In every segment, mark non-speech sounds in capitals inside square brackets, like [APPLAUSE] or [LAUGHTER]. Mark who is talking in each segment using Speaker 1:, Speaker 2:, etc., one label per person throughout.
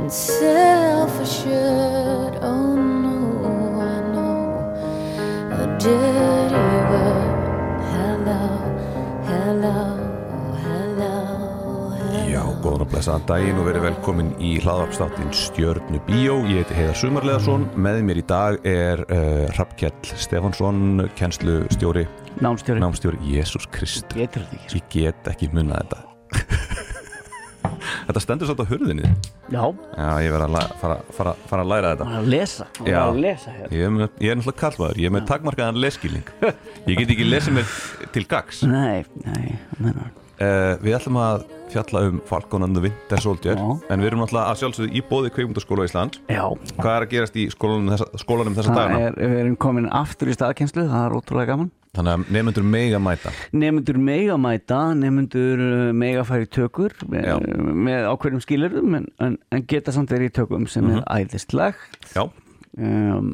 Speaker 1: and self assured. Oh no, I know a dirty word. Hello, hello, hello,
Speaker 2: Já,
Speaker 1: hello.
Speaker 2: góðan og blessaðan daginn og verið velkomin í hlaðvarpstáttin Stjörnu Bíó. Ég heiti Heiðar Sumarleðarsson, með mér í dag er uh, Rappkjell Stefansson, kennslustjóri,
Speaker 3: Námstjóri
Speaker 2: námstjóri Jésús Kristur.
Speaker 3: Getur þetta ekki sko.
Speaker 2: Ég get ekki munna þetta. þetta stendur svolítið á hurðinni.
Speaker 3: Já,
Speaker 2: Já, ég verð að la- fara, fara, fara að læra þetta.
Speaker 3: hann er að lesa Hann er
Speaker 2: Já.
Speaker 3: að lesa hérna. hér
Speaker 2: Ég er, með- ég er náttúrulega kallmaður, ég er með takmarkaðan leskilning Ég get ekki lesið mér til gags uh,
Speaker 3: Nei, nei, nei
Speaker 2: Eh, Við ætlum að fjalla um Falcon and the Winter Soldier
Speaker 3: Já.
Speaker 2: En við erum náttúrulega að sjálfsögðu í bóði kveikmundaskóla Ísland
Speaker 3: Já,
Speaker 2: Hvað er að gerast í skólanum þessa, skólanum þessa
Speaker 3: það
Speaker 2: dagana?
Speaker 3: er, við erum komin aftur í staðkenslu, það er ótrúlega gaman
Speaker 2: Þannig að nefnendur mega mæta
Speaker 3: Nefnendur mega mæta, nefnendur uh, mega færi tökur með,
Speaker 2: Já.
Speaker 3: með ákveðnum skilurðum en, en, en geta samt verið í tökum sem
Speaker 2: Mhm.
Speaker 3: er æðislegt
Speaker 2: Já,
Speaker 3: um,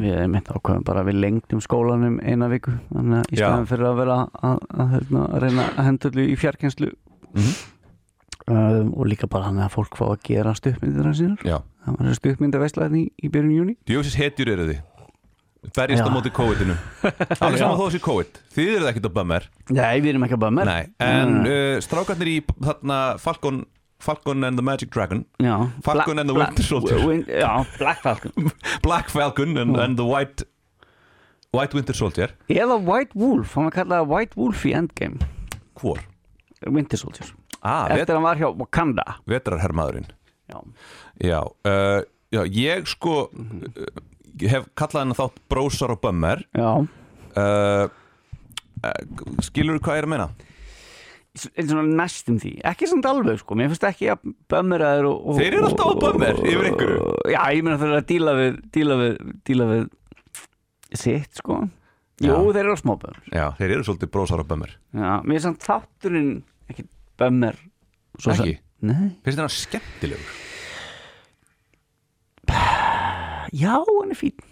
Speaker 3: Við erum eitt ákveðum bara við lengdum skólanum eina viku þannig að í
Speaker 2: Já.
Speaker 3: staðan fyrir að vera að, að, að, að reyna að hendurlu í fjarkenslu
Speaker 2: Mhm.
Speaker 3: um, og líka bara hann að fólk fá að gera stuppmyndir hans sínar
Speaker 2: já
Speaker 3: Það var stuttmynda vestlaðin í, í byrjun júni
Speaker 2: Djófisins hetjur eru þið Berjast á
Speaker 3: Já.
Speaker 2: móti
Speaker 3: [LAUGHS]
Speaker 2: COVID-inu Allir saman þó þessi COVID Þið eru ekkert að bömmer
Speaker 3: Nei, við erum ekki að bæða mér
Speaker 2: Nei,
Speaker 3: Mm.
Speaker 2: en uh, strákarnir í þarna Falcon, Falcon and the Magic Dragon Falcon and the Winter Soldier.
Speaker 3: Já, Black Falcon
Speaker 2: Black Falcon
Speaker 3: Mm.
Speaker 2: and, and the White White Winter Soldier
Speaker 3: Eða White Wolf, hann var kallað White Wolf í Endgame
Speaker 2: Hvor?
Speaker 3: Winter Soldier
Speaker 2: Ah, vet,
Speaker 3: Eftir hann var hjá Wakanda
Speaker 2: vetrarhermaðurinn
Speaker 3: Já,
Speaker 2: Já, uh, já, ég sko uh, hef kallað hennar þátt brósar og bömmar
Speaker 3: já
Speaker 2: uh, Skilur þú hvað ég er að meina?
Speaker 3: S- eins og næstum því, ekki samt alveg sko mér finnst ekki að bömmeraður og, og,
Speaker 2: Þeir eru alltaf að bömmer yfir einhverju.
Speaker 3: Já, ég meina þeir eru að díla við díla við, díla við sitt sko Jú,
Speaker 2: Já.
Speaker 3: þeir eru á smá bömmer
Speaker 2: Já, þeir eru svolítið brósar og bömmar
Speaker 3: Já, mér er samt þátturinn ekki bömmer svo sem-
Speaker 2: Ekki?
Speaker 3: Nei
Speaker 2: Finnst þér hann skemmtilegur?
Speaker 3: Já, hann er fín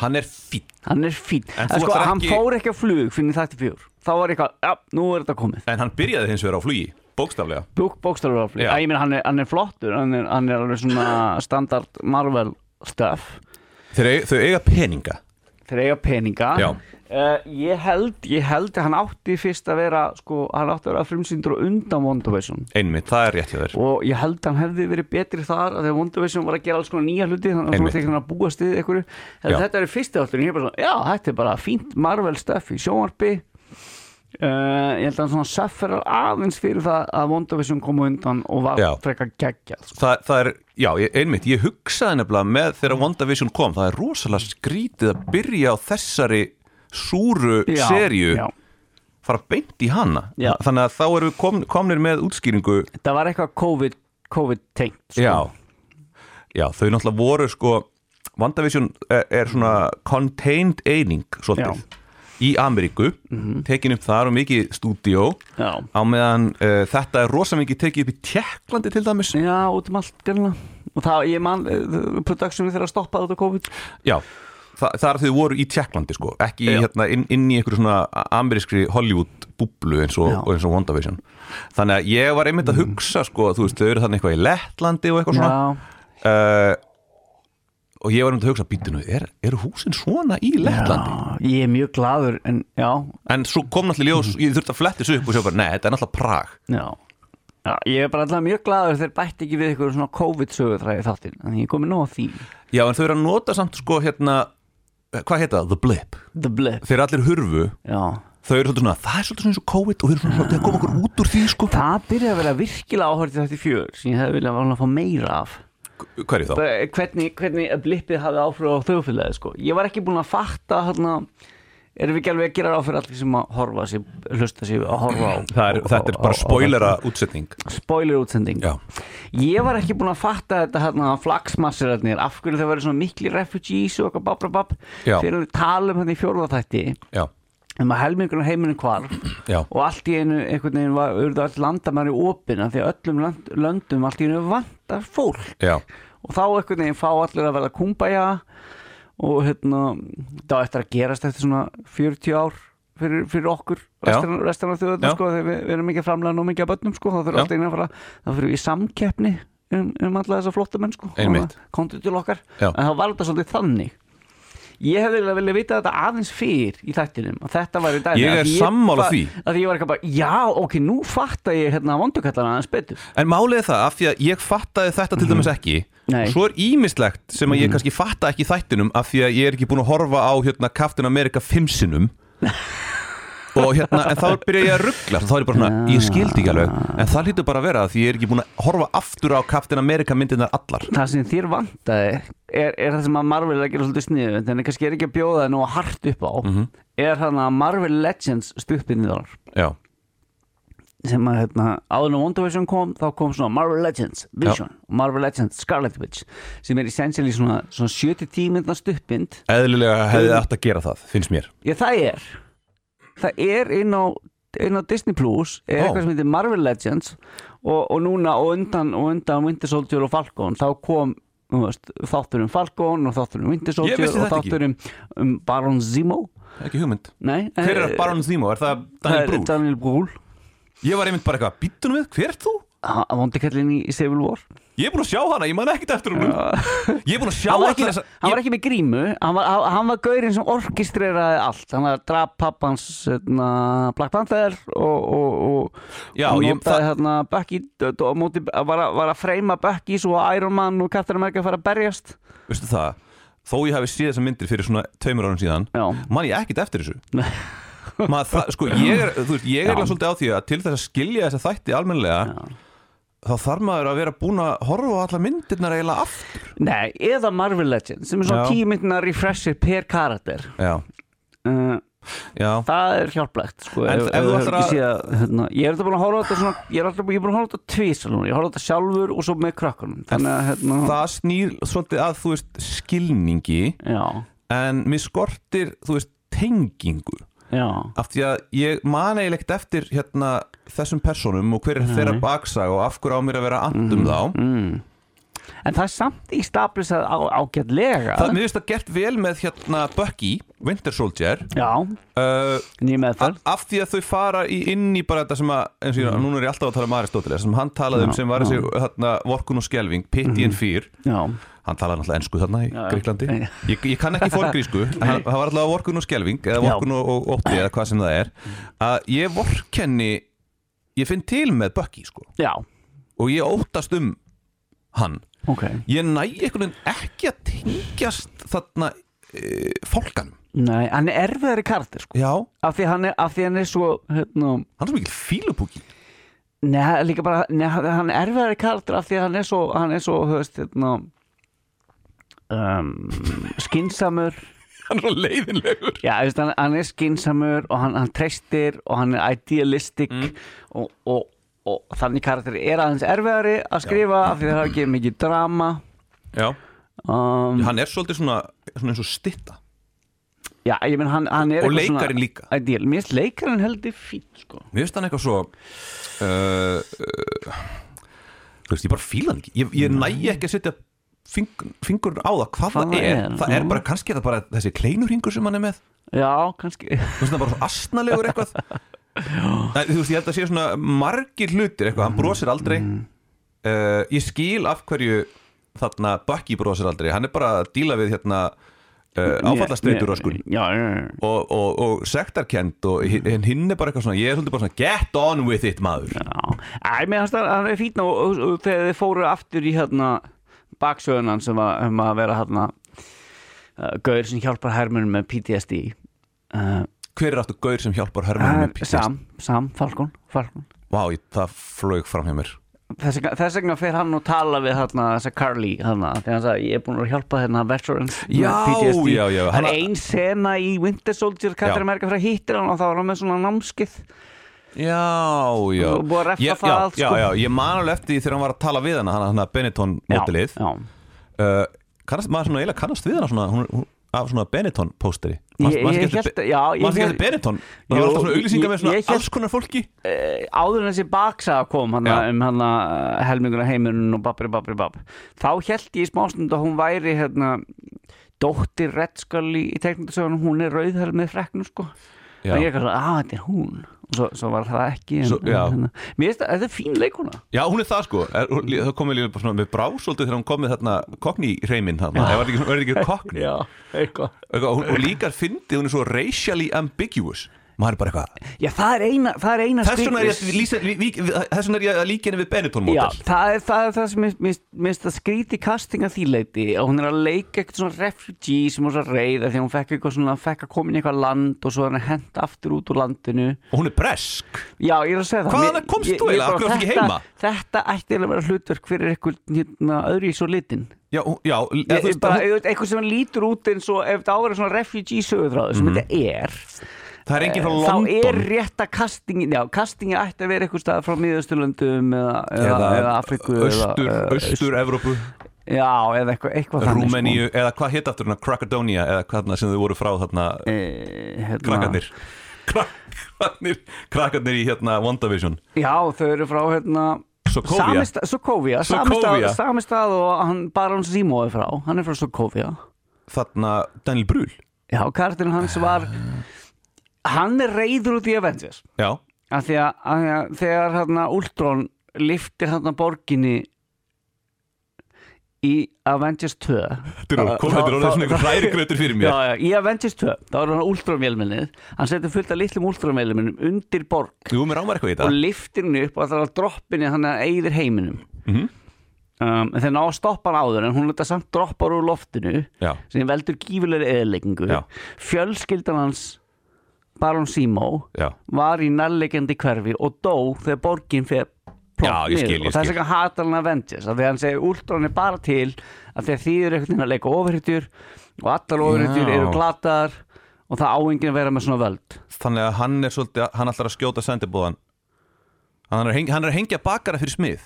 Speaker 2: Hann er fín
Speaker 3: Hann er fín
Speaker 2: En
Speaker 3: En
Speaker 2: þú
Speaker 3: sko,
Speaker 2: ætlar
Speaker 3: hann
Speaker 2: ekki-
Speaker 3: fór ekki á flug fyrir þætti fjör Þá var eitthvað, já, nú er þetta komið
Speaker 2: En hann byrjaði hins vegar á flugi, bókstaflega
Speaker 3: Búk, bókstafur á flug
Speaker 2: Já.
Speaker 3: Æ, ég meina, hann, er- hann er flottur Hann er, hann er alveg svona standard Marvel stuff
Speaker 2: Þeir, eig- Þau eiga peninga
Speaker 3: Þeir eiga peninga
Speaker 2: Já.
Speaker 3: Eh, Ég held, ég held að hann átti fyrst að vera Sko, hann átti að vera frumsýndur og undan WandaVision
Speaker 2: Einmitt, það er rétt hjá þér
Speaker 3: Og ég held að hann hefði verið betri þar af því að WandaVision var að gera alls konar nýja hluti Þannig að
Speaker 2: Einmitt.
Speaker 3: hann tekið hann að búa stið einhverju
Speaker 2: Já.
Speaker 3: En þetta er fyrsti átturinn Ég er bara svona, já, þetta er bara fínt Marvel stuff í sjónvarpi uh, Ég held að hann svona safferar aðeins fyrir það að WandaVision kom á undan og var
Speaker 2: Já.
Speaker 3: frekar geggjað sko.
Speaker 2: það, það er, já, ég, einmitt, ég hugsaði nefnilega með þegar WandaVision kom, það er rosalega skrítið að byrja á þessari súru
Speaker 3: Já,
Speaker 2: serju,
Speaker 3: já.
Speaker 2: fara beint í hana
Speaker 3: Já.
Speaker 2: þannig að þá erum við kom, komnir með útskýringu sko.
Speaker 3: Þetta var eitthvað COVID, COVID tengt sko.
Speaker 2: já, þau náttúrulega voru sko, WandaVision er, er svona contained eining svolítið, í Ameríku
Speaker 3: Mhm.
Speaker 2: tekin upp þar og mikið stúdíó
Speaker 3: Já.
Speaker 2: á meðan uh, þetta er rosalega mikið tekið upp í Tjekklandi til dæmis
Speaker 3: Já, út um allt gerna Og það, ég man, eh, productionið þeirra stoppaði út á COVID
Speaker 2: Já, þa þar þau voru í Tjekklandi sko, ekki í, hérna, inn, inn í einhverju svona amerískri Hollywood búblu eins og,
Speaker 3: Já. Mhm.
Speaker 2: og eins og WandaVision Þannig að ég var einmitt að hugsa sko, þú veist, þau eru þannig eitthvað í Lettlandi og eitthvað svona
Speaker 3: Já,
Speaker 2: uh, og ég var einmitt að hugsa býtinu, er, eru húsin svona í Lettlandi?
Speaker 3: já, ég er mjög gladur En já,
Speaker 2: En svo kom náttúrulega í ljós, ég þurfti að fletti þessu upp og sjá bara, nei, þetta er náttúrulega Prag
Speaker 3: Já. Já, ég er bara alltaf mjög glaður þegar bætti ekki við ykkur svona COVID-sögutræði þáttinn Þannig ég komi nóg að því
Speaker 2: Já, en þau eru að nota samt sko hérna, eh, hvað heita það, The Blip
Speaker 3: The blip
Speaker 2: Þeir allir hurfu,
Speaker 3: Já.
Speaker 2: þau eru svolítið svona, það er svolítið svona eins og COVID og þeir eru svona svolítið að koma okkur út úr því sko
Speaker 3: Það byrjaði að vera virkilega áhört í þetta fjör sem ég hefði viljað að fá meira af
Speaker 2: Hverju þá?
Speaker 3: Bara Hvernig, hvernig að blippið hafði áhrif á þjóðfélagi sko. Ég var ekki búin að fatta hérna, erum við ekki alveg að gera ráð fyrir allir sem að horfa sér, hlusta sér að horfa á
Speaker 2: Það er,
Speaker 3: á-
Speaker 2: þetta er
Speaker 3: á-
Speaker 2: bara
Speaker 3: á- á-
Speaker 2: spoilera útsetning
Speaker 3: spoiler útsending
Speaker 2: Já.
Speaker 3: ég var ekki búinn að fatta þetta hérna flagsmassirarnir, af hverju það verið svona mikli refugees og eitthvað babrabab
Speaker 2: Já.
Speaker 3: fyrir við tala um hérna í fjórðatætti
Speaker 2: Já,
Speaker 3: um að helmingurinn heiminu hvarf
Speaker 2: já,
Speaker 3: og allt í einu einhvern veginn var, urðu allt landamæri opina því að öllum land, löndum allt í einu vantar fólk
Speaker 2: já
Speaker 3: og þá einhvern veginn fá allir að verða kumbæja og hérna það var eftir að gerast eftir svona 40 ár fyrir, fyrir okkur
Speaker 2: Já.
Speaker 3: restan af þjóðarna
Speaker 2: Já.
Speaker 3: sko þegar við, við erum ekki að framlega nú mikið að börnum sko þá
Speaker 2: Já.
Speaker 3: þurfum alltaf einu að fara þá fyrir við í samkeppni um, um alla þessa flotta menn sko
Speaker 2: Einmitt.
Speaker 3: komdu til okkar,
Speaker 2: Já.
Speaker 3: en það var þetta svolítið þannig ég hefði eiginlega viljað vita þetta aðeins fyrr í þættinum og þetta var í dag
Speaker 2: Ég er sammála því.
Speaker 3: að ég var eitthvað bara, já, ok, nú fatta ég hérna vondukallana aðeins betur
Speaker 2: En málið er það, af því að ég fattaði þetta til dæmis ekki
Speaker 3: Mhm. Nei. Mhm.
Speaker 2: Svo er ímislegt sem að ég kannski fatta ekki í þættinum Af því að ég er ekki búin að horfa á hérna Captain America 5 sinum
Speaker 3: [LAUGHS]
Speaker 2: Og hérna, en þá byrja ég að ruggla Þá er ég bara svona, ég skildi ekki alveg En það hlýtur bara að vera því ég er ekki búin að horfa aftur á Captain America myndirnar allar
Speaker 3: það sem þér vantaði er, er það sem að Marvel er að gera svolítið sniðu en kannski er ekki að bjóða það nú hart upp á er þannig að Marvel Legends stuppinniðar
Speaker 2: Já, sem
Speaker 3: sem að hérna, áður en WandaVision kom þá kom svona Marvel Legends Vision og Marvel Legends Scarlet Witch sem er essentially svona, svona 70 myndna stuppmynd
Speaker 2: eðlilega hefði átt að gera það, finnst mér
Speaker 3: Já, það er Það er inn á, inn á Disney Plus er
Speaker 2: Ó.
Speaker 3: eitthvað sem heitir Marvel Legends og, og núna og undan, og undan Winter Soldier og Falcon þá kom þú veist, þáttur um Falcon og þáttur um Winter Soldier
Speaker 2: vissi
Speaker 3: og
Speaker 2: þetta ekki.
Speaker 3: þáttur um, um Baron Zemo
Speaker 2: Ekki hugmynd
Speaker 3: Nei,
Speaker 2: Hver er
Speaker 3: eh,
Speaker 2: Baron Zemo? Er það
Speaker 3: það
Speaker 2: Daniel
Speaker 3: er
Speaker 2: Brühl?
Speaker 3: Daniel Brühl
Speaker 2: Ég var einmitt bara eitthvað, býttunum við, hver ert þú?
Speaker 3: Vondikallin í Civil War
Speaker 2: Ég er búin að sjá hana, ég man ekkert eftir hún Ég er búin að sjá
Speaker 3: hann var,
Speaker 2: allar
Speaker 3: ekki,
Speaker 2: þessar-
Speaker 3: hann
Speaker 2: ég-
Speaker 3: var ekki með grímu hann var, hann- hann var gaurinn sem orkistreraði allt hann var að drap pappans hérna, Black Panther og, og, og
Speaker 2: Já,
Speaker 3: og
Speaker 2: ég-
Speaker 3: notaði
Speaker 2: það-
Speaker 3: hérna Bucky d- á móti, var, að, var að freyma Bucky svo að Iron Man og Captain America fara að berjast
Speaker 2: veistu það, þó ég hafi séð þessar myndir fyrir svona tveimur árum síðan
Speaker 3: Já.
Speaker 2: man ég ekkert eftir þessu
Speaker 3: Nei.
Speaker 2: [LAUGHS] Maður, það, sko, ég er, þú veist, ég er eiginlega svolítið á því að til þess að skilja þessa þætti almennilega þá þarf maður að vera búin að horfa á alla myndirnar eiginlega aftur
Speaker 3: nei, eða Marvel Legends sem er svona
Speaker 2: Já.
Speaker 3: tíu myndina refreshir per karakter
Speaker 2: já,
Speaker 3: uh,
Speaker 2: já,
Speaker 3: það er hjálplegt sko,
Speaker 2: En ef þú
Speaker 3: hefur
Speaker 2: ætlar
Speaker 3: ekki
Speaker 2: að-
Speaker 3: séð, hérna, ég er þetta búin að horfa á þetta svona, ég er alltaf búin að horfa á þetta tvís ég horfa á þetta sjálfur og svo með krökkunum þannig að hérna,
Speaker 2: það snýr svolítið að þú veist skilningi
Speaker 3: já,
Speaker 2: en mér skortir, þú veist, tengingu
Speaker 3: já
Speaker 2: af því að ég man eiginlega ekkert eftir hérna þessum personum og hver er þeirra baksaga og af hverju á mér að vera
Speaker 3: Mhm,
Speaker 2: andum þá
Speaker 3: En það er samt í stablisað á, ágætlega
Speaker 2: Það, mér finnst það gert vel með hérna Bucky, Winter Soldier
Speaker 3: Já,
Speaker 2: uh,
Speaker 3: nýjum
Speaker 2: a-
Speaker 3: meðferð
Speaker 2: af því að þau fara í, inn í bara þetta sem að, eins og ég, núna er ég alltaf að tala um Aristóteles, sem hann talaði um
Speaker 3: Mhm. Já,
Speaker 2: sem var þessi þarna, vorkun og skelving, pity and fear
Speaker 3: Já,
Speaker 2: hann talaði náttúrulega ensku þarna í
Speaker 3: Já, já.
Speaker 2: Greiklandi
Speaker 3: Já.
Speaker 2: ég, ég kann ekki
Speaker 3: [LAUGHS]
Speaker 2: forgrísku, en hann- það var alltaf vorkun og skelving, eða
Speaker 3: Já. Mhm.
Speaker 2: vorkun og, og ótti eða hvað sem það er, að ég vorkenni ég finn til með Bucky sko,
Speaker 3: já,
Speaker 2: og ég óttast um hann
Speaker 3: ok
Speaker 2: ég næ einhvern veginn ekki að tengjast þarna e, fólkanum
Speaker 3: Nei, hann er erfiðari kardir sko
Speaker 2: Já,
Speaker 3: Af því hann er, af því hann er svo hérna,
Speaker 2: hann er svo mikil fílupúki
Speaker 3: Nei, hann er líka bara nei, hann hann er erfiðari kardir af því að hann er svo hann er svo, þú veist, hérna um, skinsamur
Speaker 2: [LAUGHS] Hann er svo leiðinlegur
Speaker 3: Já, þú veist, hann, hann er skinsamur og hann, hann treystir og hann er idealistic og, og, og þannig karakter er aðeins erfiðari að skrifa af því það er ekki mikið drama
Speaker 2: Já,
Speaker 3: um,
Speaker 2: hann er svolítið svona, svona eins og stitta
Speaker 3: Já, ég menn hann, hann er
Speaker 2: Og
Speaker 3: eitthvað
Speaker 2: leikarinn líka.
Speaker 3: Ideal, mér finnst leikarinn heldur fín sko
Speaker 2: Mér finnst hann eitthvað svo uh, uh, Þú veist, ég bara fíla hann ekki Ég, ég næ ekki að setja fingur, fingurinn á það hvað
Speaker 3: Hvað
Speaker 2: það
Speaker 3: það
Speaker 2: er,
Speaker 3: er,
Speaker 2: Það
Speaker 3: já.
Speaker 2: er bara, kannski er það bara þessi kleinurringur sem hann er með
Speaker 3: Já,
Speaker 2: [LAUGHS]
Speaker 3: kannski
Speaker 2: Þú veist, það er bara svo astnalegur eitthvað Nei, Þú veist, ég held að sé svona margir hlutir eitthvað, hann
Speaker 3: Mm.
Speaker 2: brosir aldrei uh, Ég skil af hverju þarna Bucky brosir aldrei Hann er bara að díla við hérna uh, áfallastreitur og
Speaker 3: Já, já, já
Speaker 2: og, og, og sektarkend og hi- en hinn er bara eitthvað svona, ég er svolítið bara svona get on with it maður
Speaker 3: Já, Æ, mér finnst það hann er fín og, og, og þegar þið fóru aftur í hérna baksögunan sem var um að vera hérna uh, gaur sem hjálpar hermunum með PTSD uh,
Speaker 2: hver er aftur gaur sem hjálpar
Speaker 3: það
Speaker 2: hörmunum
Speaker 3: er Sam, Sam, Falcon, Falcon.
Speaker 2: Vá, ég, það flög fram hjá mér
Speaker 3: Þess, vegna- þess vegna fer hann og tala við þarna þessa Carly þarna, þegar hann sagði ég er búin að hjálpa þarna veterans með
Speaker 2: Já,
Speaker 3: PTSD."
Speaker 2: já, já,
Speaker 3: það
Speaker 2: hann-
Speaker 3: er ein sena í Winter Soldier Katar
Speaker 2: Já.
Speaker 3: Amerika fyrir að hittir hann og þá var hann með svona námskið
Speaker 2: Já, já
Speaker 3: Þú er búið að reffa
Speaker 2: Ég-
Speaker 3: það
Speaker 2: já,
Speaker 3: allt,
Speaker 2: já,
Speaker 3: sko.
Speaker 2: já, ég man alveg eftir því þegar hann var að tala við hana hann að Benetton mótilið
Speaker 3: já, já.
Speaker 2: uh, kannast, maður svona eiginlega kannast við hana svona, hún, hún, af svona Benetton pósteri
Speaker 3: Ég- ég hélt- já, ég
Speaker 2: Manst ekki
Speaker 3: hélt-
Speaker 2: eftir Benetton Það var
Speaker 3: Jú,
Speaker 2: alltaf svona auglýsingar
Speaker 3: ég-
Speaker 2: með svona
Speaker 3: ég hélt-
Speaker 2: alls konar fólki
Speaker 3: Eh, áður en þessi baksaga kom hana,
Speaker 2: Já.
Speaker 3: um hana eh, helminguna heimurinn og babri babri bab þá held ég í smástund að hún væri hérna, dóttir Red Scully í teknindasögunum, hún er rauðherð með frekknum sko
Speaker 2: Já.
Speaker 3: og ég er kannski að, að þetta er hún svo, svo var það ekki en,
Speaker 2: Svo- já.
Speaker 3: en, en, Mér finnst að þetta er fín leikuna
Speaker 2: Já, hún er það sko er, hún- Það komið líka bara svona með brá svolítið þegar hún kom með þarna kokni reyminn hann Það var ekki, var
Speaker 3: [LAUGHS]
Speaker 2: ekki kokni
Speaker 3: Já, eitthvað
Speaker 2: Og og líka fyndi, hún er svo racially ambiguous Maður er bara eitthvað
Speaker 3: Já, það er eina, það er eina
Speaker 2: Þess vegna er ég
Speaker 3: skrýtis-
Speaker 2: að lýsa- lí- vík- þess vegna er ég að líka henni við Benetton
Speaker 3: Já,
Speaker 2: mótel
Speaker 3: það er það, er það sem mér- mér mér finnst að skríti casting að því leiti og hún er að leika eitthvað svona refugee sem hún er svo reið af því að hún fekk eitthvað svona fekk að koma inn í eitthvað land og svo er hann hent aftur út úr landinu
Speaker 2: Og hún er bresk
Speaker 3: Já, ég er að segja það
Speaker 2: Hvaðan
Speaker 3: Mér-
Speaker 2: komst
Speaker 3: ég-
Speaker 2: þú
Speaker 3: ég
Speaker 2: eiginlega? Af
Speaker 3: bara-
Speaker 2: hverju varstu ekki
Speaker 3: þetta-
Speaker 2: heima?
Speaker 3: Þetta ætti eiginlega að vera hlutverk fyrir eitthvað hérna, öðru í svo litin
Speaker 2: Já, hún- já eða
Speaker 3: Ég,
Speaker 2: þú veist,
Speaker 3: bara,
Speaker 2: hún-
Speaker 3: þú veist, eitthvað sem lítur út eins og ef þetta áverður svona refugee sögutráður
Speaker 2: Mhm.
Speaker 3: sem þetta er
Speaker 2: það er enginn frá
Speaker 3: Eh, þá er
Speaker 2: London
Speaker 3: rétta kastingin já, kastingin ætti að vera eitthvað stað frá miðausturlöndum eða, eða, eða Afriku
Speaker 2: Östur,
Speaker 3: eða,
Speaker 2: Östur, Evrópu,
Speaker 3: já, eða eitthvað, eitthvað þannig sko.
Speaker 2: Rúmeníu Eða hvað hitt aftur hérna, Krakadonia Eða hvaðna sem þau voru frá þarna
Speaker 3: sko. e, hérna,
Speaker 2: Krakkarnir Krakkarnir, krakkarnir í hérna WandaVision
Speaker 3: já, þau eru frá hérna
Speaker 2: Sokovia.
Speaker 3: Samista- Sokovia, sami
Speaker 2: Sokovia.
Speaker 3: stað- sami stað og hann Baron Zemo er frá, hann er frá Sokovia
Speaker 2: Þarna Daniel Brühl
Speaker 3: já, kartinu hans var
Speaker 2: Ah.
Speaker 3: hann er reyður út í Avengers
Speaker 2: Já,
Speaker 3: af því að, að, því að þegar hérna Ultron liftir hérna borginni í Avengers 2
Speaker 2: Þetta er orðið- kom- þetta er orðið svona einhver hrærigrautur fyrir
Speaker 3: já,
Speaker 2: mér
Speaker 3: já, í Avengers 2 þá er hann Ultron vélmennið hann setur fullt af litlum Ultron vélmennum undir borg
Speaker 2: Jú, mér rámar eitthvað í
Speaker 3: og
Speaker 2: þetta
Speaker 3: liftir hann upp og það er að droppinni hann að eigðir heiminum
Speaker 2: Mhm.
Speaker 3: um, en þeir ná að stoppa hann áður en hún leta samt droppar úr loftinu
Speaker 2: Já,
Speaker 3: sem veldur gífulegri eðleggingu
Speaker 2: Já.
Speaker 3: fjölskyldan hans Baron Simo
Speaker 2: já,
Speaker 3: var í nærlegjandi hverfi og dó þegar borgin fer
Speaker 2: Já, ég skil, ég
Speaker 3: og það er
Speaker 2: skil.
Speaker 3: sem hann hatar hann Avengers af því að hann segir Ultron er bara til af því að þið eru einhvern veginn að leika ofurhyttjur og allar ofurhyttjur
Speaker 2: Já.
Speaker 3: eru glataðar og það áengin að vera með svona völd
Speaker 2: þannig að hann er svolítið Hann ætlar að skjóta sendibúðan Hann er, að hengja, hann er að hengja bakara fyrir smið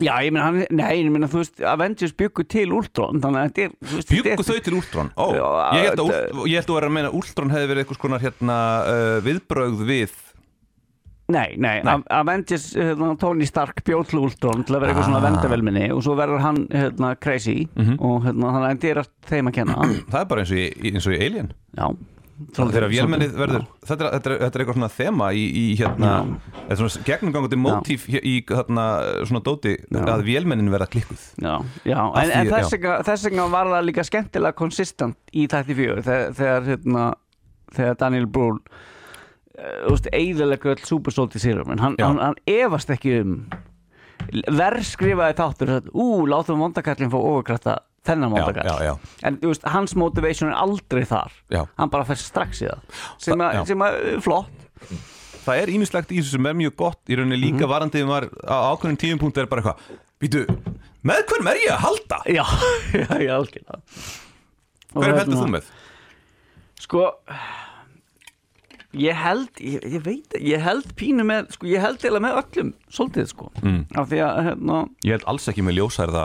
Speaker 3: Já, ég meina, hann, nei, ég meina, þú veist Avengers byggu til Ultron þannig að þetta er þú veist, þetta
Speaker 2: Bjuggu
Speaker 3: er-
Speaker 2: þau til Últrón Ó,
Speaker 3: Já,
Speaker 2: ég held að,
Speaker 3: þetta-
Speaker 2: Úl- ég held að vera að meina að Últrón hefði verið eitthvað skonar hérna uh, viðbrögð við
Speaker 3: Nei, nei,
Speaker 2: Nei.
Speaker 3: nei. Avengers, hérna, Tony Stark bjóð til Ultron til að vera eitthvað svona vendavelminni og svo verður hann, hérna, crazy og hérna, þannig að þetta er allt þeim að kenna [CLEARS THROAT]
Speaker 2: Það er bara eins og í, í- eins og í Alien
Speaker 3: Já
Speaker 2: Þannig þegar vélmennið verður þetta er, þetta, er, þetta er eitthvað svona þema í, í hérna Þetta er svona gegnumgangandi mótíf í, í hérna svona dóti að vélmennin verða klikkuð
Speaker 3: Já, já,
Speaker 2: Af
Speaker 3: en, en
Speaker 2: því-
Speaker 3: þess vegna- þess vegna var það líka skemmtilega konsistent í tætti fjögur þegar, þegar, hérna, þegar Daniel Brühl uh, eðalega öll supersólti sérum en hann,
Speaker 2: Já.
Speaker 3: hann, hann efast ekki um verð skrifaði þáttur að, ú, látum vondakallin fá ofurkrafta þennan
Speaker 2: Já,
Speaker 3: vondakall
Speaker 2: já, já.
Speaker 3: en þú veist, hans motivation er aldrei þar
Speaker 2: Já.
Speaker 3: hann bara fer strax í það sem,
Speaker 2: Þa-
Speaker 3: að,
Speaker 2: já.
Speaker 3: sem að, eh, flott [LAUGHS]
Speaker 2: það er ímislegt í þessu sem er mjög gott í rauninni
Speaker 3: Mhm.
Speaker 2: líka varandi ef maður á ákveðnum tíumpunkt er bara eitthvað Býtu, með hverjum er ég að halda?
Speaker 3: já, já, já, algjörlega hérna-
Speaker 2: Hverjum heldur þú með?
Speaker 3: Sko Ég held, ég, ég veit Ég held pínu með, sko, ég held eiginlega með öllum Svolítið, sko mm. Af því að, hérna,
Speaker 2: Ég held alls ekki með ljósærða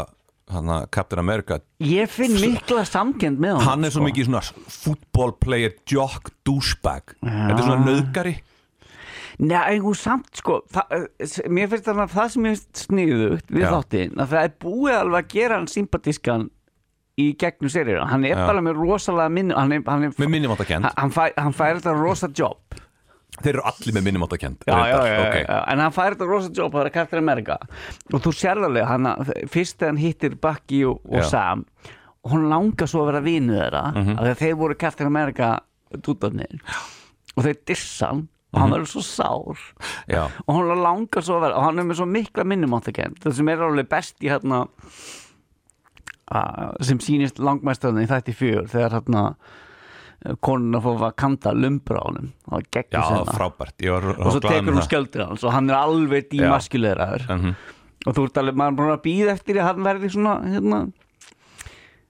Speaker 2: hana, Captain America
Speaker 3: ég finn mikla samkend með honum,
Speaker 2: Hann er svo
Speaker 3: sko.
Speaker 2: mikið svona football player, jock, douchebag Þetta er svona nöðgari
Speaker 3: Nei, en hún samt, sko það, Mér finnst þannig að það sem ég finnst sniðugt Við
Speaker 2: Já.
Speaker 3: þáttinn, að það er búið alveg að gera hann sympatískan Í gegnum serið Hann er
Speaker 2: Já.
Speaker 3: bara með rosalega minn Hann, er, hann,
Speaker 2: með
Speaker 3: er,
Speaker 2: minnumáttakend
Speaker 3: hann, hann, fær, hann fær þetta rosa jobb
Speaker 2: Þeir eru allir með minnumáttakend
Speaker 3: já, já, já, já, en hann fær þetta rosa jobb að vera Captain America og þú sérð alveg hann að- fyrst þegar hann hittir Bucky og, og
Speaker 2: Já. Mhm.
Speaker 3: Sam og hann langar svo að vera vinu þeirra mm af því að þeir voru Captain America dútarnir og þeir dissa hann og
Speaker 2: Mhm.
Speaker 3: hann verður svo sár
Speaker 2: já.
Speaker 3: og hann langar svo að vera og hann er með svo mikla minnum áttakennd það sem er alveg best í hérna að- sem sýnist langmæstarinn í þætti fjör þegar hérna konuna fór að kanta lumbra á honum og það
Speaker 2: já
Speaker 3: geggjum sem
Speaker 2: frábært Ég var,
Speaker 3: og svo
Speaker 2: glaður
Speaker 3: tekur
Speaker 2: með
Speaker 3: hún
Speaker 2: það.
Speaker 3: skjöldur hans og hann er alveg
Speaker 2: Já.
Speaker 3: dímaskuleiraður
Speaker 2: Mhm.
Speaker 3: og þú ert alveg, maður er bara að býða eftir því að hann verði svona hérna,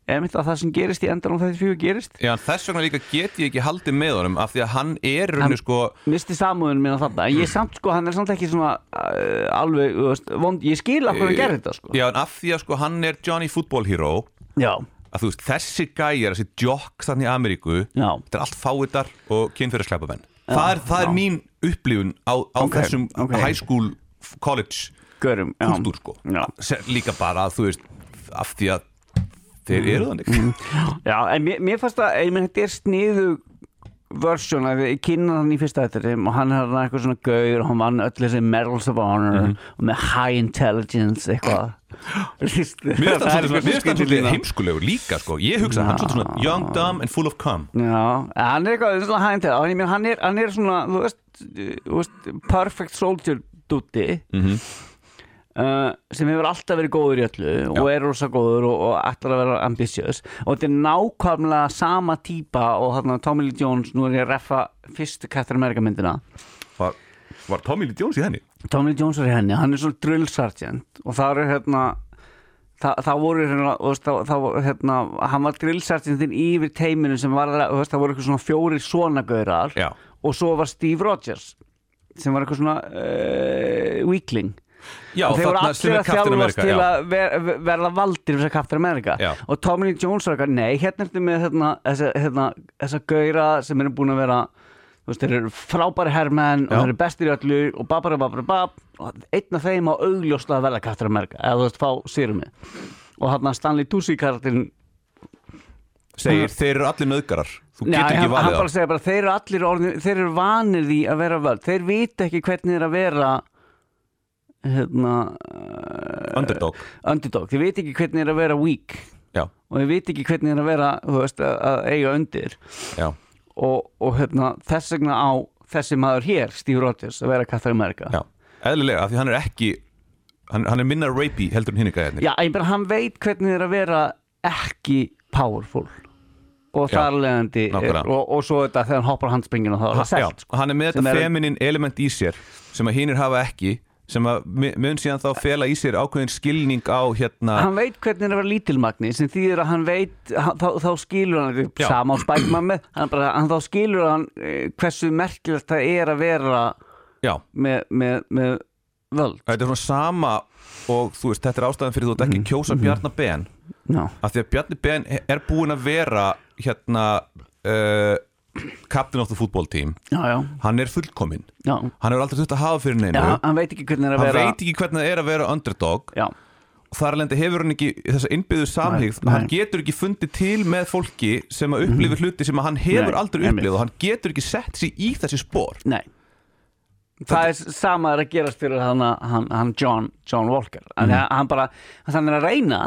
Speaker 3: eða mitt að það sem gerist í endan á þessi fjögur gerist
Speaker 2: Já, en þess vegna líka get ég ekki haldið með honum af því að hann er rauninu
Speaker 3: Hann-
Speaker 2: sko
Speaker 3: misti samúðun minna þarna en ég samt sko, hann er samt ekki svona uh, alveg, þú veist, vond, ég skil að hvernig hann gerir þetta sko
Speaker 2: eh, Já, en af því að sko hann er Johnny Football Hero
Speaker 3: já,
Speaker 2: að þú veist, þessi gæjar, þessi jokk þannig í Ameríku,
Speaker 3: Já.
Speaker 2: þetta er allt fáitar og kynfyrir sklæpamenn það, er, það er
Speaker 3: já.
Speaker 2: mín upplifun á, á
Speaker 3: Ok,
Speaker 2: þessum
Speaker 3: ok.
Speaker 2: high school college
Speaker 3: görum já.
Speaker 2: kultúr sko
Speaker 3: já.
Speaker 2: Sem líka bara að þú veist af því að þeir eru þannig
Speaker 3: Mm. já, en mér, mér fannst að, ég menn, þetta er sniðu versjón að ég kynna hann í fyrsta eftir og hann er hann eitthvað svona gauður og hann vann öll þessi medals of honor og með high intelligence
Speaker 2: Mhm.
Speaker 3: eitthvað
Speaker 2: Mér finnst
Speaker 3: [LAUGHS]
Speaker 2: hann svolítið- mér finnst hann svolítið
Speaker 3: lína.
Speaker 2: heimskulegur líka sko Ég hugsa hann svolítið svona young, dumb and full of cum
Speaker 3: Já, en hann er eitthvað svona high intelligence hann, ég meina, hann, er, hann er svona, þú veist, þú veist perfect soldier dutti uh, sem hefur alltaf verið góður í öllu og er rosa góður og, og ætlar að vera ambitious og þetta er nákvæmlega sama típa og hann Tommy Lee Jones, nú er ég að reffa fyrstu Captain America myndina
Speaker 2: Var, var Tommy Lee Jones í henni?
Speaker 3: Tommy Jones er í henni, hann er svona drill sergeant og það er hérna það, það voru hérna, þú veist, það, það voru, hérna hann var drill sergeantin yfir teiminu sem var, þú veist, það voru eitthvað svona fjórir svona gaurar
Speaker 2: Já.
Speaker 3: og svo var Steve Rogers sem var eitthvað svona uh, weakling
Speaker 2: Já,
Speaker 3: og þeir voru
Speaker 2: þarna sem
Speaker 3: allir
Speaker 2: er
Speaker 3: að
Speaker 2: Captain
Speaker 3: þjálfast
Speaker 2: America,
Speaker 3: til
Speaker 2: já.
Speaker 3: að ver, ver- verða valdir fyrir þess að Captain America
Speaker 2: Já.
Speaker 3: og Tommy Lee Jones var eitthvað, nei, hérna ertu með hérna, þessa, hérna, þessa gauðra sem eru búin að vera þú veist, þeir eru frábæri herrmenn og
Speaker 2: Já.
Speaker 3: þeir eru bestir í öllu og babara babara bab og einn af þeim á augljósla að verða Captain America eða þú veist, fá sérumi og hann Stanley Tucci karakterinn
Speaker 2: Segir, þeir eru allir nöðgarar Þú
Speaker 3: Nei,
Speaker 2: getur
Speaker 3: hann,
Speaker 2: ekki
Speaker 3: hann
Speaker 2: valið
Speaker 3: bara
Speaker 2: það
Speaker 3: segir bara þeir eru allir orðin, þeir eru vanir því að vera völd þeir vita ekki hvernig þeir að vera hérna uh,
Speaker 2: Underdog
Speaker 3: underdog, þeir vita ekki hvernig þeir að vera weak
Speaker 2: Já,
Speaker 3: og þeir vita ekki hvernig þeir að vera þú veist, að, að eiga undir
Speaker 2: já,
Speaker 3: og, og hérna, þess vegna á þessi maður hér, Steve Rogers að vera Captain America
Speaker 2: já Eðlilega, af því hann er ekki Hann, hann er minna rapey heldur en hinn ykkar hérna
Speaker 3: Já, ég bara hann veit hvernig þeir að vera ekki powerful og
Speaker 2: Já,
Speaker 3: þar leðandi
Speaker 2: nákvæmlega.
Speaker 3: og, og svo þetta þegar hann hoppar á handspringin og það er það
Speaker 2: Já,
Speaker 3: selt sko.
Speaker 2: hann er með
Speaker 3: Sem
Speaker 2: þetta
Speaker 3: er-
Speaker 2: feminin element í sér sem að hinnir hafa ekki sem að mi- mun síðan þá fela í sér ákveðin skilning á hérna
Speaker 3: hann veit hvernig hann er að vera lítilmagni sem þýðir að hann veit hann, þá, þá skilur hann
Speaker 2: Já.
Speaker 3: þetta sama á spækman með hann bara, hann, þá skilur hann eh, hversu merkilegt það er að vera
Speaker 2: Já,
Speaker 3: með, með, með völd
Speaker 2: þetta er svona sama og þú veist, þetta er ástæðan fyrir þú ert ekki að kjósa
Speaker 3: Mhm.
Speaker 2: Bjarnar Ben
Speaker 3: no.
Speaker 2: af því að Bjarni Ben er búinn að vera hérna uh, captain of the football team
Speaker 3: já, já,
Speaker 2: hann er fullkominn
Speaker 3: já.
Speaker 2: hann hefur aldrei þurft að hafa fyrir neinu
Speaker 3: já hann- hann veit ekki hvernig hann er
Speaker 2: hann
Speaker 3: að vera
Speaker 2: veit ekki hvernig það er að vera underdog
Speaker 3: já,
Speaker 2: og þar alveg hefur hann ekki þessa innbyggðu samhygð
Speaker 3: Nei,
Speaker 2: hann
Speaker 3: nei.
Speaker 2: getur ekki fundið til með fólki sem að upplifir hluti sem að hann hefur
Speaker 3: Nei,
Speaker 2: aldrei
Speaker 3: einmitt.
Speaker 2: upplifð og hann getur ekki sett sér í þessi spór
Speaker 3: nei það er sama er að gerast fyrir hann, hann, hann John, John Walker mm.
Speaker 2: Mhm.
Speaker 3: hann bara, hann er að reyna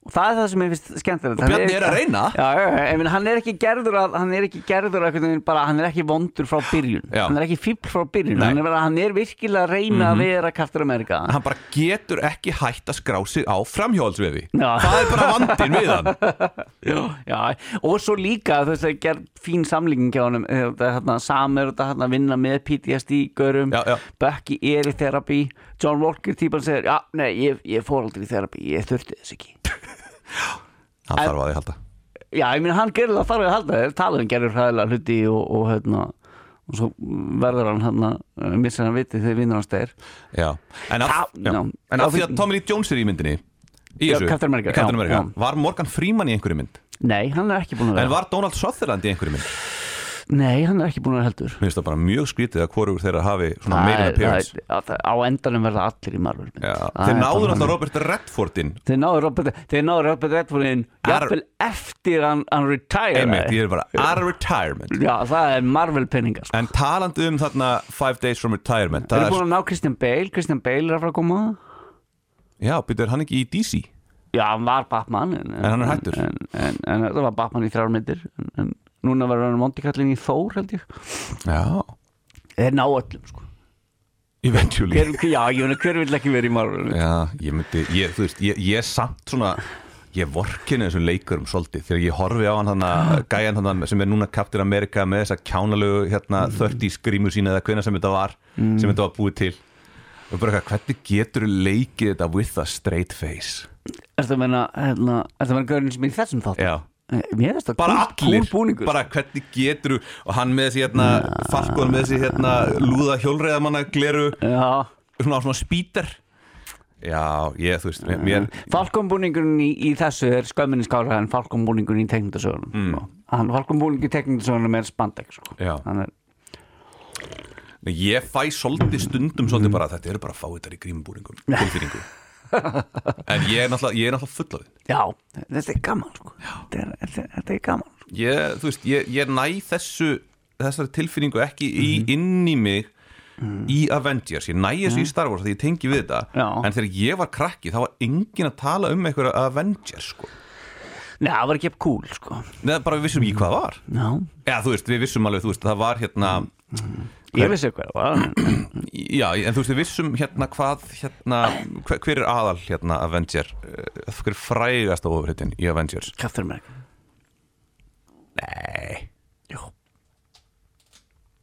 Speaker 3: og það er það sem ég finnst skemmtilegt
Speaker 2: og
Speaker 3: Hann
Speaker 2: Bjarni er að reyna
Speaker 3: Já, já, já, ég meina, hann er ekki gerður að, hann er ekki gerður að, einhvern veginn bara, hann er ekki vondur frá byrjun
Speaker 2: Já.
Speaker 3: hann er ekki fíbl frá byrjun
Speaker 2: Nei. Mhm.
Speaker 3: hann er, bara- hann er virkilega að reyna að vera Captain America
Speaker 2: hann bara getur ekki hætt að skrá sig á framhjóðalsvefi
Speaker 3: Já.
Speaker 2: það er bara vandin við hann
Speaker 3: já, og svo líka þú veist það er gerð þín samlíking hjá honum eh, það er hérna samur, það er hérna að vinna með PTSD-görum,
Speaker 2: Já, já.
Speaker 3: Bucky er í therapy, John Walker típan segir, já, nei, ég, ég fór aldrei í therapy ég þurfti þess ekki
Speaker 2: hann þarf að því halda
Speaker 3: Já, ég meina hann gerir það þarf að halda þeir tala um gerir hræðilega hluti og, og hérna og svo verður hann hérna eh, missir hann viti þegar vinnur hans þeir
Speaker 2: Já. En, af,
Speaker 3: Já,
Speaker 2: já.
Speaker 3: já.
Speaker 2: en af
Speaker 3: Já,
Speaker 2: því að
Speaker 3: fyrir-
Speaker 2: Tommy Lee Jones er í myndinni í
Speaker 3: Já,
Speaker 2: þessu,
Speaker 3: Captain America,
Speaker 2: í Captain
Speaker 3: já,
Speaker 2: America.
Speaker 3: já.
Speaker 2: Var Morgan Freeman í einhverju mynd?
Speaker 3: Nei, hann er ekki búin að
Speaker 2: En
Speaker 3: vera
Speaker 2: var Donald Sutherland í einhverju mynd?
Speaker 3: Nei, hann er ekki búin að vera heldur
Speaker 2: Mér finnst það bara mjög skrítið að hvorugur þeirra hafi svona
Speaker 3: Það
Speaker 2: meira
Speaker 3: er-
Speaker 2: appearance
Speaker 3: það er- á- Á endanum verða allir í Marvel mynd
Speaker 2: Já.
Speaker 3: Það
Speaker 2: Þeir náðu
Speaker 3: er bara
Speaker 2: náttúrulega
Speaker 3: þannig.
Speaker 2: Robert Redfordin
Speaker 3: Þeir náðu Robert, E- þeir náðu Robert Redfordin
Speaker 2: Ar-
Speaker 3: jafnvel eftir hann, hann retire
Speaker 2: Einmitt, ég er bara out of retirement
Speaker 3: Já, það er Marvel penningar sko.
Speaker 2: En talandi um þarna Five Days from Retirement
Speaker 3: Þeir
Speaker 2: það
Speaker 3: eru
Speaker 2: er,
Speaker 3: búin að ná Christian Bale, Christian Bale er að fara að koma
Speaker 2: Já, býtur hann ekki í DC?
Speaker 3: Já, hann var Batman En, en
Speaker 2: hann er hættur.
Speaker 3: En, en, en, það var Batman í þrjár myndir en, en núna verður hann vondi kallin í Þór held ég
Speaker 2: Já,
Speaker 3: Þeir ná öllum sko
Speaker 2: eventually
Speaker 3: hver, Já, ég meina, hver vill ekki verið í Marvel mynd?
Speaker 2: Já, ég myndi, ég, þú veist, ég, ég samt svona Ég vorkinu þessum leikurum svolítið Þegar ég horfi á hann hann gæjan hann sem er núna Captain America með þessa kjánalegu hérna 30 skrímur sína eða hvena sem þetta var sem þetta var búið til og bara eitthvað, hvernig getur leikið þetta with a straight face
Speaker 3: Ertu að meina, hérna, ertu að meina Görnins sem er í þessum þátt?
Speaker 2: Já,
Speaker 3: Mér finnst það
Speaker 2: bara
Speaker 3: kúl-
Speaker 2: allir,
Speaker 3: Kúl búningur
Speaker 2: bara hvernig getur og hann með þessi hérna falkon með þessi hérna lúða hjólreiðamanna gleru,
Speaker 3: Já
Speaker 2: svona á svona spýter Já, ég, þú veist, mér, mér
Speaker 3: Falkonbúningurinn í, í þessu er skömminni skára en falkonbúningurinn í teknindasögunum mm. Hann falkonbúningur í teknindasögunum er spandex sko.
Speaker 2: Já.
Speaker 3: Hann er,
Speaker 2: Nei, Ég fæ svolítið stundum svolítið bara að þetta eru bara fáiðar í grímubúringum tilfinningu En ég er náttúrulega, ég er náttúrulega fullofinn
Speaker 3: já, þetta er gaman sko. þetta, er, þetta, er- þetta er gaman sko.
Speaker 2: ég, þú veist, ég, ég næ þessu þessari tilfinningu ekki í, inn í mig í Avengers, ég næ þessu í Star Wars því ég tengi við þetta,
Speaker 3: Já.
Speaker 2: en þegar ég var krakki þá var engin að tala um einhverja Avengers sko,
Speaker 3: Nei, það var ekki upp cool, sko
Speaker 2: neða bara við vissum ekki hvað það var
Speaker 3: Já,
Speaker 2: eða þú veist, við vissum alveg, þú veist, það var hérna
Speaker 3: ég vissi hvað það var
Speaker 2: Já, en þú veist, við vissum hérna hvað hérna, hver, hver er aðal hérna Avenger, eh, hver er frægast á ofurhettin í Avengers?
Speaker 3: Captain America
Speaker 2: Nei
Speaker 3: Jú,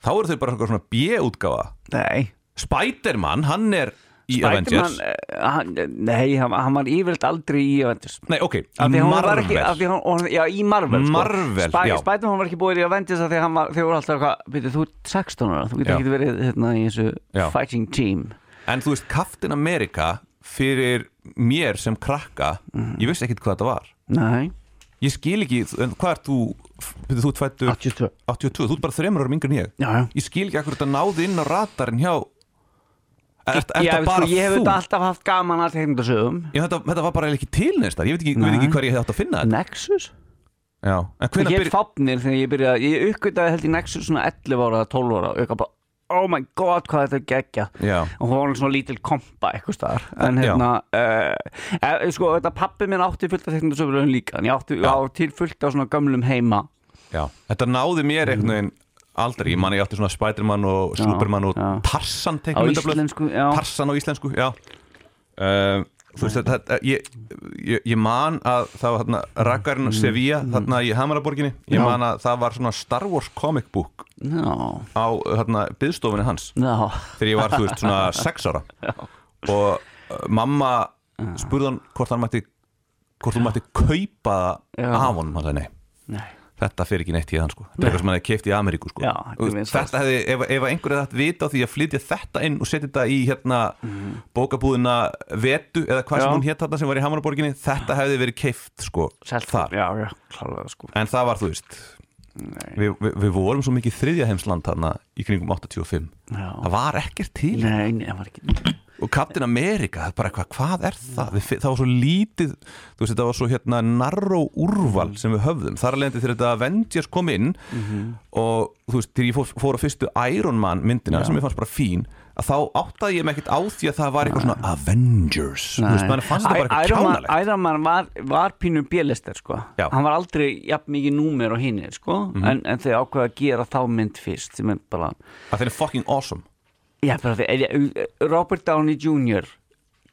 Speaker 2: Þá eru þau bara eitthvað svona B-útgáfa
Speaker 3: nei
Speaker 2: Spiderman, hann er í Avengers
Speaker 3: Spiderman, eh, hann, Nei, hann, hann var yfirlt aldrei í Avengers
Speaker 2: Nei, ok, í
Speaker 3: Af því að hún var
Speaker 2: Marvel
Speaker 3: ekki, af því að hún, hún- já, í Marvel sko.
Speaker 2: Marvel,
Speaker 3: Spy-
Speaker 2: já.
Speaker 3: Spider-Man var ekki búið í Avengers af því að hann var, þau voru alltaf hvað, veitir, þú ert 16 ára, þú getur
Speaker 2: Já.
Speaker 3: ekki verið hérna í þessu
Speaker 2: Já.
Speaker 3: fighting team
Speaker 2: En þú veist, Captain America fyrir mér sem krakka
Speaker 3: Mhm.
Speaker 2: ég vissi ekkit hvað þetta var
Speaker 3: Nei,
Speaker 2: Ég skil ekki, en hvað er þú byrju, þú tvættur
Speaker 3: 82
Speaker 2: 82, þú ert bara þreymur árum yngri en ég
Speaker 3: Já, já
Speaker 2: Ég skil ekki akkur þetta náði inn á radarinn hjá Er
Speaker 3: Já,
Speaker 2: þetta
Speaker 3: sko,
Speaker 2: bara
Speaker 3: Ég hef
Speaker 2: þú?
Speaker 3: þetta alltaf haft gaman að teknindasögum
Speaker 2: Ég, þetta, þetta var bara eiginlega ekki til neins þar, ég veit ekki,
Speaker 3: Nei.
Speaker 2: veit ekki hvað ég hefði átt að finna þetta
Speaker 3: Nexus?
Speaker 2: Já, en
Speaker 3: Ég
Speaker 2: hvenær
Speaker 3: hef
Speaker 2: byrj...
Speaker 3: fápnir þegar ég byrjaði Ég uppgötaði held í Nexus svona 11 ára eða 12 ára og ég gaf bara, oh my god, hvað þetta er geggja
Speaker 2: Já,
Speaker 3: og hún var alveg svona lítil kompa eitthvað staðar en hérna uh, e, sko þetta pappi minn átti fullt af teknindasöfurlöfum líka en ég átti
Speaker 2: Já.
Speaker 3: á, til fullt af svona gömlum heima
Speaker 2: já, þetta náði mér einhvern veginn aldrei, ég man ég átti svona Spiderman og Superman og
Speaker 3: já.
Speaker 2: Tarsan
Speaker 3: á
Speaker 2: teiknumyndablöð,
Speaker 3: íslensku já,
Speaker 2: Tarsan á íslensku, já uh, Þú veist, þetta, þetta- ég, ég, ég man að það var þarna Rakarinn Sevilla, þarna í Hamaraborginni ég
Speaker 3: Mm. Já.
Speaker 2: man að það var svona Star Wars comic book
Speaker 3: já,
Speaker 2: á þarna byðstofunni hans
Speaker 3: já.
Speaker 2: þegar ég var, þú veist, svona sex ára og uh, mamma spurði hann hvort hann mætti hvort hún mætti kaupa
Speaker 3: Já.
Speaker 2: það af honum, hann sagði nei,
Speaker 3: Nei.
Speaker 2: þetta fer ekki neitt í hann sko, þetta er eitthvað sem hann hefði keift í Ameríku sko,
Speaker 3: Já,
Speaker 2: Þú
Speaker 3: þetta er
Speaker 2: veist,
Speaker 3: vinsælt.
Speaker 2: þetta hefði, ef, ef einhver hefði haft vita á því að flytja þetta inn og setja þetta í hérna bókabúðina Vetu eða hvað
Speaker 3: Mhm. Já.
Speaker 2: sem hún hétt þarna sem var í Hamaraborginni þetta hefði verið keift sko
Speaker 3: Selt,
Speaker 2: þar,
Speaker 3: já, já, klálega sko
Speaker 2: en það var, þú veist við, við, við vorum svo mikið þriðja heimsland þarna í kringum 85
Speaker 3: Já.
Speaker 2: það var ekkert til
Speaker 3: Nei, nei, það var ekki
Speaker 2: og Captain America, það er bara eitthvað, hvað er það við, fi- það var svo lítið, þú veist þetta var svo hérna narró úrval
Speaker 3: Mhm.
Speaker 2: sem við höfðum þar alveg þegar þetta Avengers kom inn
Speaker 3: Mhm.
Speaker 2: og þú veist, þegar ég fór, fór á fyrstu Iron Man myndina sem ég fannst bara fín að þá áttaði ég mig ekkert á því að það var eitthvað svona Avengers, þú veist, mann fannst þetta bara
Speaker 3: Æ-
Speaker 2: eitthvað
Speaker 3: Iron Man-
Speaker 2: kjánalegt
Speaker 3: Iron Man var, var pínu bjelister sko.
Speaker 2: Já. Mhm.
Speaker 3: hann var aldrei jafn mikið númer og hinn sko. en, en þau ákveða að gera þá mynd fyrst sem er bara,
Speaker 2: að það er fucking awesome
Speaker 3: já, bara því- eh, Robert Downey Jr.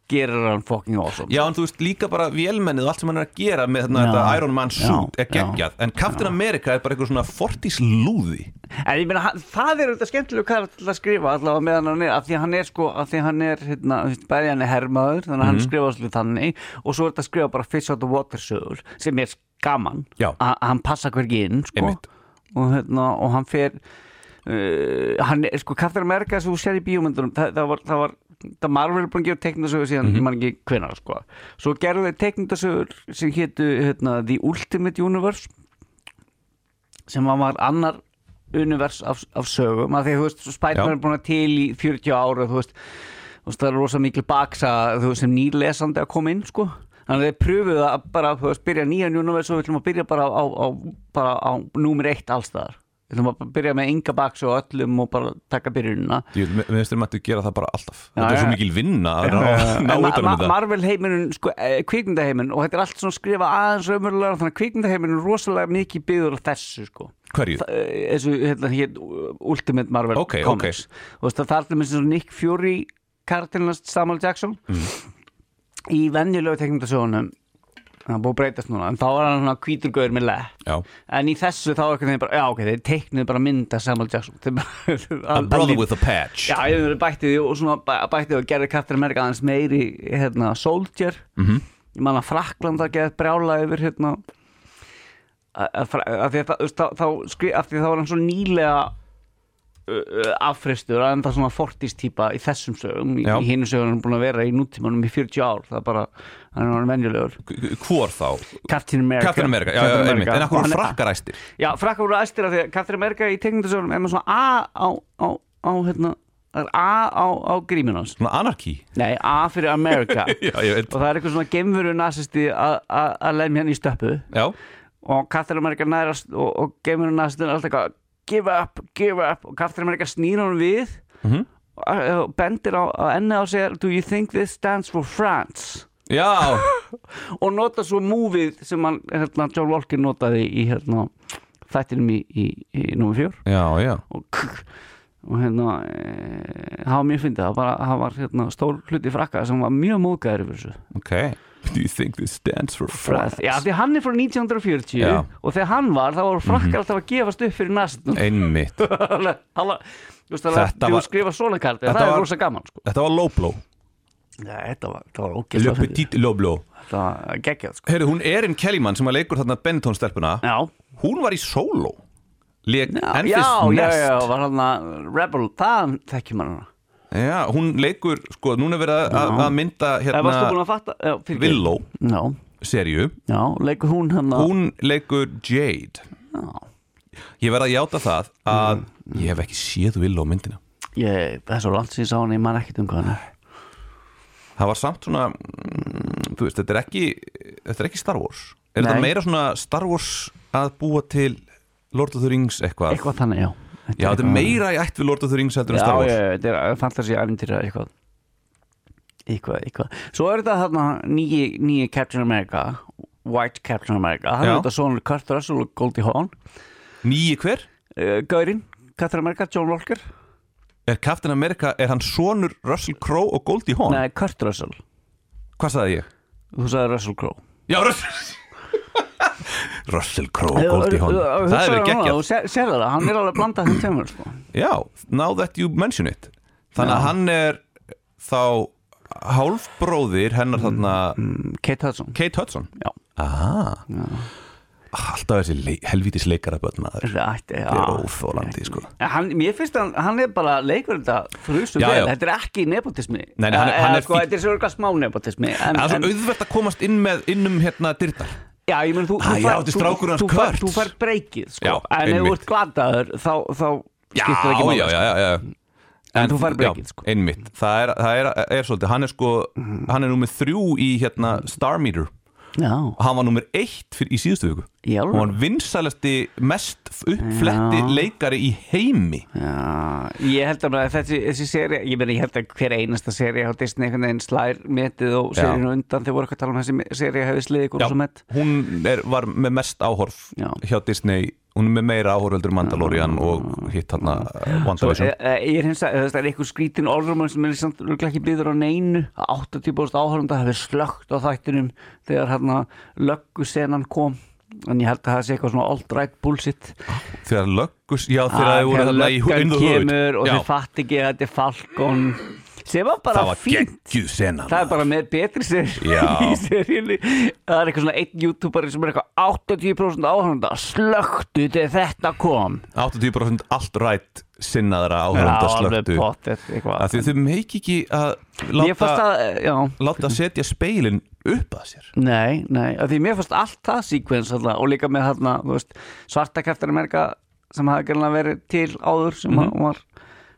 Speaker 3: gerir hann fucking awesome
Speaker 2: Já, en þú veist, líka bara vélmennið og allt sem hann er að gera með þarna,
Speaker 3: Já.
Speaker 2: þetta Iron Man suit
Speaker 3: Já,
Speaker 2: er geggjað, en Captain America er bara eitthvað svona fortíslúði
Speaker 3: En ég meina, hann- það er auðvitað skemmtilega hvað að skrifa allavega meðan hann er, af því að hann er sko, af því að hann er, hérna, þú veist, bæði hann er hermaður, þannig að hann
Speaker 2: Mhm.
Speaker 3: skrifa svolítið þannig og svo er þetta að skrifa bara fish out of water sögur sem er gaman,
Speaker 2: Já.
Speaker 3: að að hann passa hvergi inn, sko
Speaker 2: Einmitt.
Speaker 3: og hérna, og hann fer uh, hann er, sko, Captain America sem þú sér í bíómyndunum, það, það var, það var það Marvel er búin að gefa teknindasögur síðan
Speaker 2: Mhm.
Speaker 3: ég man ekki hvenar, sko, svo gerðu þeir teknindasögur sem hétu, hérna, The Ultimate Universe sem var maður annar univers af, af sögum af því að þú veist,
Speaker 2: Já.
Speaker 3: Spiderman er búin að til í 40 ára þú veist, þú veist það er rosa mikil baksa þú veist, sem nýr lesandi að koma inn sko þannig að þeir pröfuðu að bara þú veist, byrja nýjan univers og við ætlum að byrja bara á, á, bara á númer eitt allstaðar við ætlum að bara byrja með enga baksa og öllum og bara taka byrjunina
Speaker 2: Ég veit, við veistum að þú gera það bara alltaf
Speaker 3: Já,
Speaker 2: Þetta er svo
Speaker 3: já.
Speaker 2: mikil vinna að ná, ná
Speaker 3: Eh, En
Speaker 2: utan um þetta
Speaker 3: Marvel heiminin, sko, eh, kvikmyndaheiminin og þetta er allt svona skrifa aðeins raumurlega þannig að kvikmyndaheiminin er rosalega mikið byggður á þessu sko
Speaker 2: Hverju?
Speaker 3: Eh, þessu hérna hér Ultimate Marvel
Speaker 2: Ok, ok.
Speaker 3: Comics og það er allir með sem Nick Fury Cardinalist Samuel Jackson
Speaker 2: Mm.
Speaker 3: í venjulegu teknindasögunum það er búið að breytast núna en þá var hann svona hvíturgauður með lepp
Speaker 2: Já,
Speaker 3: en í þessu þá er einhvern veginn bara já ok, þeir teiknuðu bara mynda Samuel Jackson Þeir bara-
Speaker 2: a
Speaker 3: að-
Speaker 2: brother
Speaker 3: að-
Speaker 2: with a patch
Speaker 3: Já, ég verið bætti því og svona bæ- bætti því og gerði Captain America aðeins meiri hérna, soldier
Speaker 2: Mhm.
Speaker 3: -hmm. ég man að Frakland að geða brjála yfir hérna að- að Fra- að því að það- þú veist, þá, þá skri, að því þá var hann svo nýlega uh, uh, affristur að enda svona fortistýpa í þessum sögum í,
Speaker 2: Já.
Speaker 3: í hinu sögum er hann búin að vera í nútímanum í 40 ár það er bara, hann er hann venjulegur
Speaker 2: Hvor þá?
Speaker 3: Captain America,
Speaker 2: Captain America, já, já,
Speaker 3: Eh, Captain
Speaker 2: einmitt En
Speaker 3: Og
Speaker 2: akkur
Speaker 3: hann
Speaker 2: er
Speaker 3: er-
Speaker 2: frakkaræstir
Speaker 3: Já, frakkar voru æstir af því að Captain America í teknindasögunum er með svona A á, á, á hérna Það er A á, á gríminu hans
Speaker 2: Svona anarki
Speaker 3: Nei, A fyrir America
Speaker 2: [LAUGHS] Já, ég veit
Speaker 3: Og það er eitthvað svona gemveru nasisti að lemja hann í stöppu
Speaker 2: Já,
Speaker 3: og Captain America nærast og, og geimur hann nærast alltaf eitthvað give up, give up og Captain America snýr hann við
Speaker 2: Mhm.
Speaker 3: og, og bendir á, á enni á sér do you think this stands for France
Speaker 2: Já,
Speaker 3: og nota svo múfið sem hann, hérna, John Walker notaði í hérna, þættinum í, í, í númer fjör
Speaker 2: já, já
Speaker 3: og krr, og hérna eh, það var mjög fyndið, það, bara, það var hérna, stór hluti frakka sem var mjög móðgæður yfir þessu
Speaker 2: Ok Do you think this stands for France?
Speaker 3: Já, því hann er frá 1940
Speaker 2: Já.
Speaker 3: og þegar hann var, þá voru frakkar alltaf að gefast upp fyrir
Speaker 2: [LAUGHS]
Speaker 3: nasistum
Speaker 2: Einmitt Þetta
Speaker 3: Þetta
Speaker 2: var-
Speaker 3: var skrifa svona karti,
Speaker 2: Þetta
Speaker 3: það
Speaker 2: var-
Speaker 3: er rosa gaman sko.
Speaker 2: Þetta var low blow
Speaker 3: Já, þetta var, þetta var
Speaker 2: Le
Speaker 3: ógeðslega fyndið.
Speaker 2: petit low blow
Speaker 3: Þetta var geggjað sko.
Speaker 2: Heyrðu, hún Erin Kellyman sem að leikur þarna Benetton-stelpuna
Speaker 3: Já,
Speaker 2: Hún var í solo Leik
Speaker 3: já,
Speaker 2: Enfist
Speaker 3: já, já,
Speaker 2: Nest
Speaker 3: já, var hann að Rebel, það þekkjum hann hana
Speaker 2: Já, hún leikur, sko, núna er verið að- að að mynda
Speaker 3: Það varstu búin
Speaker 2: hérna
Speaker 3: að fatta já, fyrirgefðu.
Speaker 2: Villó
Speaker 3: Já,
Speaker 2: serju
Speaker 3: já, leikur hún hérna- hann að
Speaker 2: Hún leikur Jade Ég verð að játa það að
Speaker 3: Mm.
Speaker 2: ég hef ekki séð Villó myndina
Speaker 3: Ég, það er svo langt síðan sá hann, ég man ekkert um hvað hann er
Speaker 2: Það var samt svona, mm, þú veist, þetta er ekki, þetta er ekki Star Wars Er þetta
Speaker 3: Nei.
Speaker 2: meira svona Star Wars að búa til Lord of the Rings eitthvað?
Speaker 3: Eitthvað þannig, já
Speaker 2: Já, þetta er meira í ætt við Lord of the Rings heldur en
Speaker 3: Já,
Speaker 2: Star Wars
Speaker 3: já, þetta er uh, fantasy ævintýra eitthvað Eitthvað, eitthvað Svo er þetta þarna nýji, nýji Captain America White Captain America Hann
Speaker 2: Já.
Speaker 3: er þetta sonur Kurt Russell og Goldie Hawn
Speaker 2: Nýi hver?
Speaker 3: uh, Gaurinn, Captain America, John Walker
Speaker 2: Er Captain America, er hann sonur Russell Crowe og Goldie Hawn?
Speaker 3: Nei, Kurt Russell
Speaker 2: Hvað sagði ég?
Speaker 3: Þú sagði Russell Crowe
Speaker 2: Já, Russell [LAUGHS] Russell Crowe og Goldie Hawn Það hefur
Speaker 3: um
Speaker 2: verið geggjað
Speaker 3: Þú sér sér það, hann er alveg blandað þeim tveimur sko.
Speaker 2: Já, now that you mention it Þannig að hann er þá hálfbróðir hennar þarna
Speaker 3: Mm, Ah. Kate Hudson
Speaker 2: Kate Hudson
Speaker 3: Já.
Speaker 2: Aha. Alltaf þessi le helvítis leikara börn maður
Speaker 3: Rætt, já
Speaker 2: Það er óþólandi sko
Speaker 3: En Hann, mér finnst hann, hann er bara leikur þetta frustu
Speaker 2: Já,
Speaker 3: vel,
Speaker 2: já.
Speaker 3: þetta er ekki nepotismi
Speaker 2: Nei, nei, hann er-
Speaker 3: Eh,
Speaker 2: hann er
Speaker 3: sko,
Speaker 2: fínn.
Speaker 3: Þetta er svo eitthvað smá nepotismi en,
Speaker 2: En það er
Speaker 3: en,
Speaker 2: svo auðvelt að komast inn með innum hérna dyrnar
Speaker 3: Já, ég meni,
Speaker 2: Ah,
Speaker 3: þú, þú
Speaker 2: já,
Speaker 3: fær-
Speaker 2: þetta er
Speaker 3: þú-
Speaker 2: strákur hans
Speaker 3: þú fær-
Speaker 2: Kurt.
Speaker 3: Þú fær breykið, sko
Speaker 2: Já,
Speaker 3: En ef
Speaker 2: einmitt.
Speaker 3: þú ert gladaður, þá, þá skiptir það ekki máli sko.
Speaker 2: já, já, já, já.
Speaker 3: En þú fær breykið,
Speaker 2: já,
Speaker 3: sko. Mm.
Speaker 2: Einmitt, það er, það er, er svolítið Hann er sko, hann er númer þrjú í hérna Star Meter
Speaker 3: Já,
Speaker 2: Hann var númer eitt fyrir, í síðustu viku
Speaker 3: Í alvöru?
Speaker 2: Og hann vinsalasti mest uppfletti
Speaker 3: Já.
Speaker 2: leikari í heimi
Speaker 3: já Ég held að bara þessi, þessi seri Ég meni, ég held að hver einasta seri á Disney einhvern veginn slær metið og
Speaker 2: Já.
Speaker 3: serinu undan þegar voru eitthvað að tala um þessi seri hefði sliðið ykkur
Speaker 2: Já,
Speaker 3: svo met
Speaker 2: hún er, var með mest áhorf
Speaker 3: Já.
Speaker 2: hjá Disney Hún er með meira áhorf heldur en Mandalorian og hitt hann að WandaVision
Speaker 3: Eh, eh, Ég er hins að það er einhver skrítin orðrumar sem er samt örugglega ekki byggður á neinu 80% áhörunda hefur slögt á þættinum þegar hérna löggusenan kom en ég held að það sé eitthvað svona alt-right bullshit
Speaker 2: Þegar löggus, já þegar þið voru þarna í
Speaker 3: Ah, löggan
Speaker 2: undur
Speaker 3: kemur og
Speaker 2: já,
Speaker 3: þið fatt ekki að þetta er Falcon sem var bara
Speaker 2: það var
Speaker 3: fínt
Speaker 2: geggjuð senan
Speaker 3: Það er bara með betri sér [LAUGHS]
Speaker 2: Já.
Speaker 3: í seríunni Það er eitthvað svona einn youtuberi sem er eitthvað 80% áhörunda slögtu til þetta kom
Speaker 2: 80% allt rætt sinnaðra
Speaker 3: Já,
Speaker 2: áhörunda
Speaker 3: alveg
Speaker 2: slöktu
Speaker 3: pottet eitthvað
Speaker 2: að því þau meik ekki að
Speaker 3: Mér fannst
Speaker 2: láta,
Speaker 3: það, já,
Speaker 2: láta setja speilin upp að sér
Speaker 3: nei, nei af Því mér fannst allt það síkvens þarna, og líka með þarna, þú veist, svarta kæftar Amerika sem hafði gerðan verið til áður sem mm var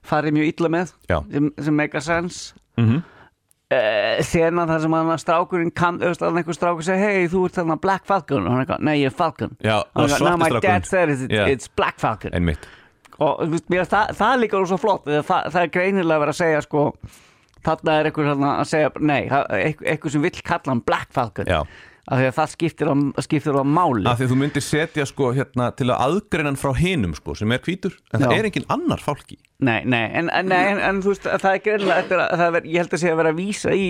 Speaker 3: farið mjög illa með
Speaker 2: Mhm. Já.
Speaker 3: sem, sem make a sense
Speaker 2: mm -hmm.
Speaker 3: uh, Sena þar sem hann að strákurinn kann, þú veist, að einhver strákur segi hei, þú ert þarna Black Falcon og hann eitthvað, nei, ég er Falcon
Speaker 2: Já,
Speaker 3: Hann
Speaker 2: og
Speaker 3: eitthvað,
Speaker 2: svarti
Speaker 3: "No, my
Speaker 2: strákurinn."
Speaker 3: dad said it's,
Speaker 2: Já.
Speaker 3: it's Black Falcon
Speaker 2: einmitt
Speaker 3: og þú veist, mér, finnst það, það er líka rosa flott það, það, það er greinilega að vera að segja sko, þarna er einhver þarna að segja nei, það- einhver einhver sem vill kalla hann Black Falcon
Speaker 2: Já.
Speaker 3: af því að það skiptir á, skiptir á máli
Speaker 2: að því þú myndir setja sko hérna til að aðgreinan frá hinum sko sem er hvítur en það
Speaker 3: Já.
Speaker 2: er engin annar fálki
Speaker 3: nei, nei, en, en, nei, en, en þú veist það er greinilega þetta er að, það er, ég held að segja að vera að vísa í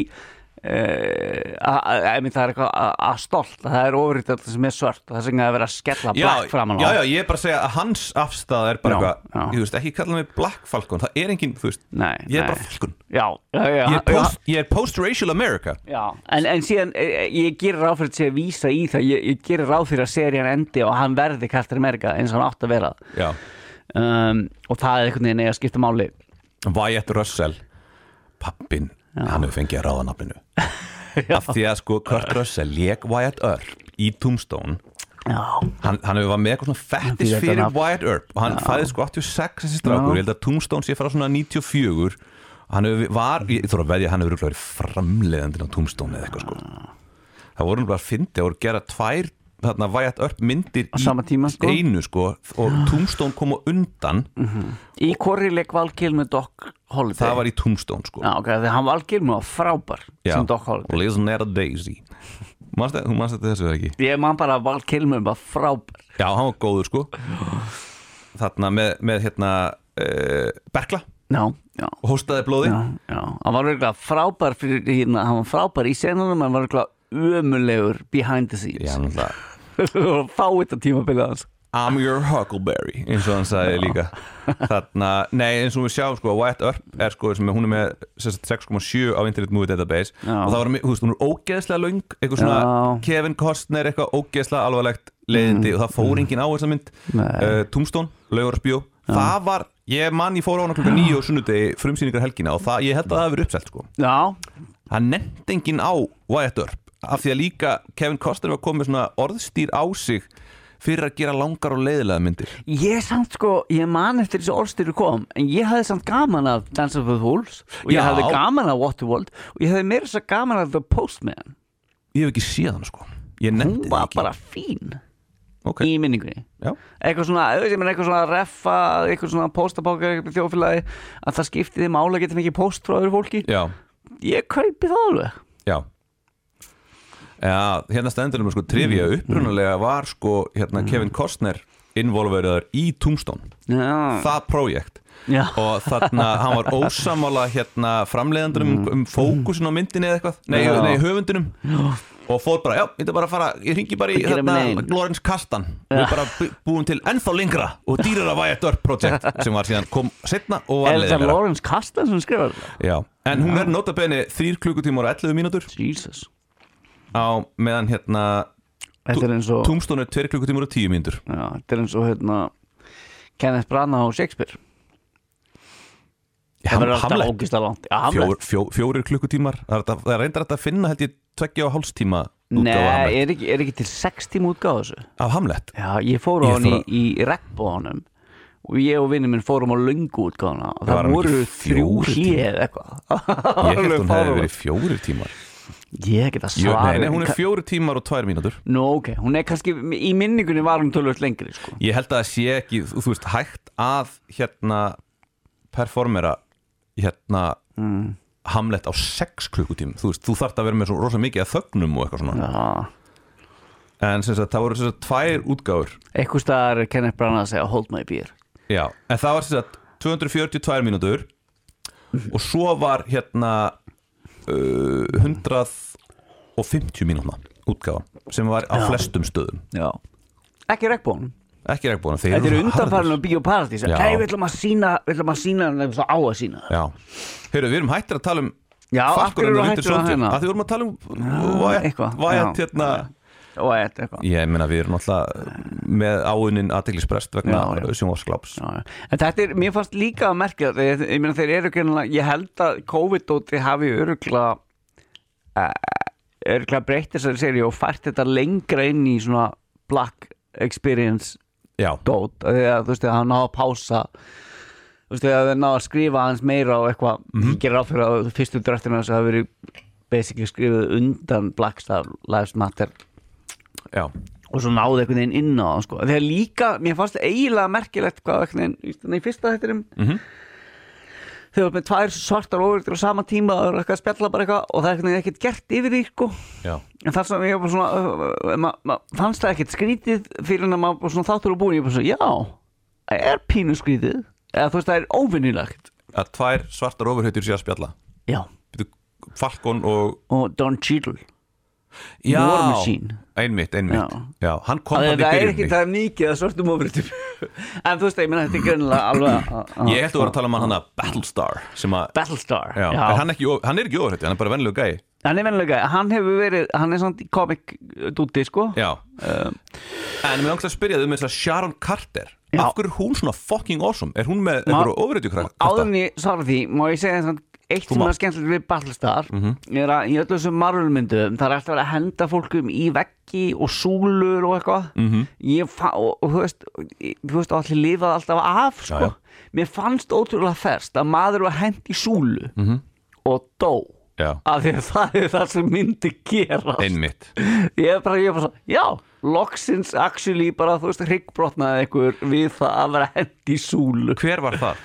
Speaker 3: Uh, að, að, að, það er eitthvað að, að stolt að það er ofrið þetta sem er svört og það sem er að vera að skella black framan á
Speaker 2: já, já, ég er bara að segja að hans afstæða er bara
Speaker 3: Já,
Speaker 2: eitthvað,
Speaker 3: já.
Speaker 2: ég veist, ekki kalla mig black falcon, það er engin, þú veist
Speaker 3: Nei,
Speaker 2: ég er
Speaker 3: nei.
Speaker 2: bara falcon,
Speaker 3: já, já, já,
Speaker 2: ég er,
Speaker 3: já,
Speaker 2: post, ég er post-racial America
Speaker 3: Já, en, en síðan eh, ég gerir ráð fyrir að sé að vísa í það ég, ég gerir ráð fyrir að serían endi og hann verði Captain America eins og hann átt að vera
Speaker 2: já,
Speaker 3: um, og það er einhvern veginn eiga að skipta máli
Speaker 2: Wyatt Russell pappin, hann hefur fengið að ráða
Speaker 3: [LAUGHS]
Speaker 2: nafninu af því að sko Kurt Russell lék Wyatt Earp í Tombstone
Speaker 3: Já,
Speaker 2: hann, hann hefur var með eitthvað svona fettis
Speaker 3: Hann fyrir
Speaker 2: fyrir
Speaker 3: þetta nafn.
Speaker 2: Wyatt Earp og hann fæði sko 86 þessi strákur,
Speaker 3: Já.
Speaker 2: ég held að Tombstone sé frá svona 94 hann hefur var, ég þóra að veðja að hann hefur örugglega verið framleiðandinn á Tombstone eða eitthvað sko það voru nú bara að fyndi, það voru gera tvær þarna væjat upp myndir
Speaker 3: Á sama tíma, sko. Mhm.
Speaker 2: einu sko og Tombstone kom á undan
Speaker 3: Í hvorri leik valgil með Doc Holiday?
Speaker 2: það var í Tombstone sko
Speaker 3: Já, ok, þegar hann valgil með var frábær sem Doc Holiday
Speaker 2: Liznera Daisy Manstu- Þú mannst þetta þessu eða ekki?
Speaker 3: Ég man bara að valgil með var frábær
Speaker 2: Já, hann var góður sko Þarna með, með hérna uh, Berkla
Speaker 3: Já, já
Speaker 2: og hóstaði blóði
Speaker 3: Já, já, hann var virkulega frábær fyrir hérna, hann var frábær í senunum en var virkulega ömulegur behind the
Speaker 2: Já,
Speaker 3: scenes
Speaker 2: náttúrulega
Speaker 3: [LAUGHS] og fá þetta tímabilið hans
Speaker 2: I'm your Huckleberry eins og hann sagði líka þarna, nei eins og við sjáum sko Wyatt Earp er sko sem er- hún er með sem sagt, 6,7 á Internet Movie Database
Speaker 3: Já.
Speaker 2: og það var, mi- þú veist, hún er ógeðslega löng eitthvað svona
Speaker 3: Já. Mm.
Speaker 2: Kevin Costner eitthvað ógeðslega alvarlegt leiðindi og það fór enginn á þessa mynd
Speaker 3: Nei.
Speaker 2: uh, Tombstone, Laugarsbjó það var, ég mann ég fór á hana klukka 9 og sunnudegi frumsýningar helgina og það, ég held að það hafi verið uppselt sko
Speaker 3: Já,
Speaker 2: það nefndi enginn á Wyatt Earp af því að líka Kevin Costner var komið svona orðstýr á sig fyrir að gera langar og leiðilega myndir
Speaker 3: ég samt sko, ég man eftir þessu orðstýru kom en ég hafði samt gaman af Dance of the Fools og ég
Speaker 2: Já.
Speaker 3: hafði gaman af Waterworld og ég hafði meira þess að gaman af The Postman
Speaker 2: Ég hef ekki séð hann sko Ég nefndi
Speaker 3: hún
Speaker 2: það
Speaker 3: var
Speaker 2: ekki
Speaker 3: bara fín
Speaker 2: Ok.
Speaker 3: í minningunni
Speaker 2: Já.
Speaker 3: eitthvað svona, auðvitað, ég meina eitthvað svona reffa, eitthvað svona postabóka þjófélagi, að það skipti þið mála getur mikið post frá öðru fólki
Speaker 2: Já,
Speaker 3: ég kaupi það alveg
Speaker 2: já Já, hérna stendur um sko trivja
Speaker 3: Mm.
Speaker 2: upprunalega var sko hérna Kevin Costner involveraður í Tombstone
Speaker 3: já,
Speaker 2: það projekt
Speaker 3: já,
Speaker 2: og þarna hann var ósamála hérna framleiðandur um, um fókusin á myndinni eða eitthvað nei,
Speaker 3: Mm. Já.
Speaker 2: nei höfundunum og fór bara, já, ég er bara að fara ég ringi bara í
Speaker 3: Gera
Speaker 2: hérna,
Speaker 3: minn ein.
Speaker 2: Lawrence Kastan við bara bu- búum til ennþá lengra og dýrara Wyatt Earp projekt sem var síðan kom setna og var
Speaker 3: er þetta
Speaker 2: leiðilegra.
Speaker 3: Lawrence Kastan sem skrifar þetta?
Speaker 2: Já, en hún er notabene 3 klukkutímar og 11 mínútur
Speaker 3: Jesus,
Speaker 2: á meðan hérna
Speaker 3: þetta er eins og
Speaker 2: Tombstone er 2 klukkutímar og 10 mínútur
Speaker 3: já, þetta er eins og hérna Kenneth Branagh og Shakespeare
Speaker 2: Já,
Speaker 3: það verður alltaf
Speaker 2: Hamlet,
Speaker 3: ógist að langt já, Hamlet.
Speaker 2: fjór, fjó, fjórir klukkutímar það er þetta- það er reyndar hægt að finna held ég 2 og hálfs tíma útgáfu af
Speaker 3: Nei,
Speaker 2: Hamlet,
Speaker 3: er ekki, er ekki til 6 tíma útgáð þessu
Speaker 2: af Hamlet.
Speaker 3: Já, ég fór á
Speaker 2: Ég
Speaker 3: hann
Speaker 2: fór að-
Speaker 3: í, í regnbóðanum og ég og vinnum minn fórum á löngu útgáðana og
Speaker 2: Var
Speaker 3: það
Speaker 2: hann
Speaker 3: voru
Speaker 2: ekki
Speaker 3: þrjú
Speaker 2: fjórir
Speaker 3: hér eða eitthvað
Speaker 2: Ég held hún hefði
Speaker 3: fáránlegt.
Speaker 2: verið fjórir tímar
Speaker 3: Ég get að
Speaker 2: Jú, nei,
Speaker 3: svara
Speaker 2: nei, hún er fjórir tímar og 2 mínútur
Speaker 3: Nú, ok, hún er kannski, í minningunni var hún tölvöld lengri, sko
Speaker 2: Ég held að það sé ekki, þú, þú veist, hægt að hérna performera hérna
Speaker 3: Mm.
Speaker 2: Hamlet á 6 klukkutíma þú veist, þú þarft að vera með svo rosa mikið að þögnum og eitthvað svona
Speaker 3: Já,
Speaker 2: En sem sagt, það voru sem sagt tvær útgáfur
Speaker 3: eitthvað staðar er Kenneth Branagh að segja hold my beer
Speaker 2: Já, en það var sem sagt 242 mínútur Og svo var hérna uh, 150 mínútna útgáfa Sem var á flestum stöðum
Speaker 3: Já Ekki regnbóðanum
Speaker 2: Ekki regnbúin að þeir
Speaker 3: Þetta eru
Speaker 2: svo harðir.
Speaker 3: undanfarnum bíóparadís
Speaker 2: Já.
Speaker 3: Nei, við ætlum að sína, við ætlum að sína hann eins og á að sína
Speaker 2: Já, heyrðu, við erum hættir að tala um
Speaker 3: Já, af hverju
Speaker 2: Falkoninn
Speaker 3: eru
Speaker 2: og
Speaker 3: hættir
Speaker 2: Winter
Speaker 3: að
Speaker 2: Soldier
Speaker 3: hérna?
Speaker 2: Af því vorum að tala um Vætt,
Speaker 3: eitthvað,
Speaker 2: vætt
Speaker 3: já.
Speaker 2: hérna
Speaker 3: Og eitthvað
Speaker 2: Ég meina, við erum alltaf með áunin aðteglisprest vegna
Speaker 3: Já, já.
Speaker 2: sjónvarskláps
Speaker 3: Já, já. en þetta er, mér fannst líka að merkja þetta, ég, ég meina þeir eru gennilega, ég held að COVID-dóti hafi örugla uh, örugla breytt þessari seri og fært þetta lengra inn í svona black experience
Speaker 2: Já,
Speaker 3: dót, af því að þú veist að hann náða að pása þú veist að það náða að skrifa hans meira og eitthvað, ég gerir áfyrir að fyrstu dröftina þess að það verið basically skrifið undan Black Star Lives Matter
Speaker 2: já,
Speaker 3: og svo náði einhvern veginn inn á það sko. þegar líka, mér fannst eiginlega merkilegt hvað einhvern veginn, í stanna í fyrsta þettinum mm -hmm. þegar með tvær svartar óvirtir á sama tíma og það eru eitthvað að spjalla bara eitthvað og það er einhvern veginn ekkert gert yfir því sko.
Speaker 2: já
Speaker 3: en það sem ég var bara svona uh, uh, ma, ma, fannst það ekkert skrítið fyrir en að maður bara svona þáttur og búin, ég bara svona, já það er pínu skrítið eða þú veist, það er óvinnilegt
Speaker 2: Að tvær svartar ofurhautur sé að spjalla
Speaker 3: já,
Speaker 2: Bíddu, Falcon og
Speaker 3: og Don Cheadle
Speaker 2: Já.
Speaker 3: War Machine.
Speaker 2: Einmitt, einmitt
Speaker 3: Já.
Speaker 2: Já, hann kom
Speaker 3: það,
Speaker 2: hann í
Speaker 3: það er ekki,
Speaker 2: byrjunni
Speaker 3: það er mikið að svartum ofritum [LAUGHS] en þú veist, ég meina þetta er greinlega alveg að- að-
Speaker 2: Ég held að voru að tala um hann að Battlestar sem að,
Speaker 3: Battlestar
Speaker 2: já, já. Hann, ekki, of- hann er ekki ofurhautur, hann er bara venlegu gæi
Speaker 3: hann er venlega, hann hefur verið hann er svona komik dúti sko
Speaker 2: Já Eh, En mér langst að spyrja þau með þess að Sharon Carter
Speaker 3: Já.
Speaker 2: Af hverju er hún svona fucking awesome? Er hún með
Speaker 3: Ma-
Speaker 2: einhverju ofurhautur
Speaker 3: áður
Speaker 2: krakta?
Speaker 3: en ég svarði því, má ég segja svona eitt sem
Speaker 2: mátt. Mhm.
Speaker 3: er skemmtilegt við Battlestar er að í öllu þessum marulmyndum það er alltaf verið að henda fólkum í veggi og súlur og eitthvað
Speaker 2: Mhm.
Speaker 3: ég fa- og, og þú veist ég- þú veist, og allir lifað alltaf af sko.
Speaker 2: já. Mhm.
Speaker 3: mér fannst ótrúlega ferst að maður var hend í súlu og dó
Speaker 2: já,
Speaker 3: af því að það er það sem myndi gerast
Speaker 2: einmitt
Speaker 3: ég er bara, ég er bara svo, já loksins actually bara, þú veist, hryggbrotnaði einhver við það að vera hendi í súlu
Speaker 2: Hver var það?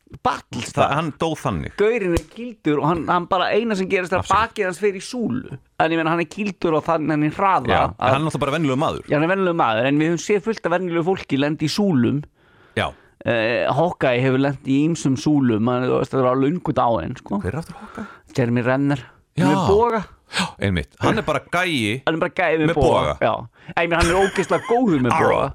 Speaker 2: það
Speaker 3: Battlestar,
Speaker 2: hann dóð þannig
Speaker 3: gaurinn er kildur og hann, hann bara eina sem gerist er að
Speaker 2: Absolutt.
Speaker 3: bakið hans fer í súlu en ég menn hann er kildur og þannig hann er hraða
Speaker 2: já,
Speaker 3: að,
Speaker 2: En hann er náttúrulega bara venjulegu maður
Speaker 3: já, hann er venlulegu maður en við höfum séð fullt af venlulegu fólki lendi í súlum
Speaker 2: Já,
Speaker 3: eh, Hawkeye hefur lendi í ýmsum súlum hann, þú veist, það er á lungu dáin sko.
Speaker 2: hver er aftur hóka?
Speaker 3: Jeremy Renner
Speaker 2: Já.
Speaker 3: með boga
Speaker 2: Já, einmitt, hann er bara gæi
Speaker 3: hann er bara gæði með,
Speaker 2: Með boga?
Speaker 3: boga, já, Æ, ég meina, hann er ógeðslega góður með
Speaker 2: Arrow.
Speaker 3: boga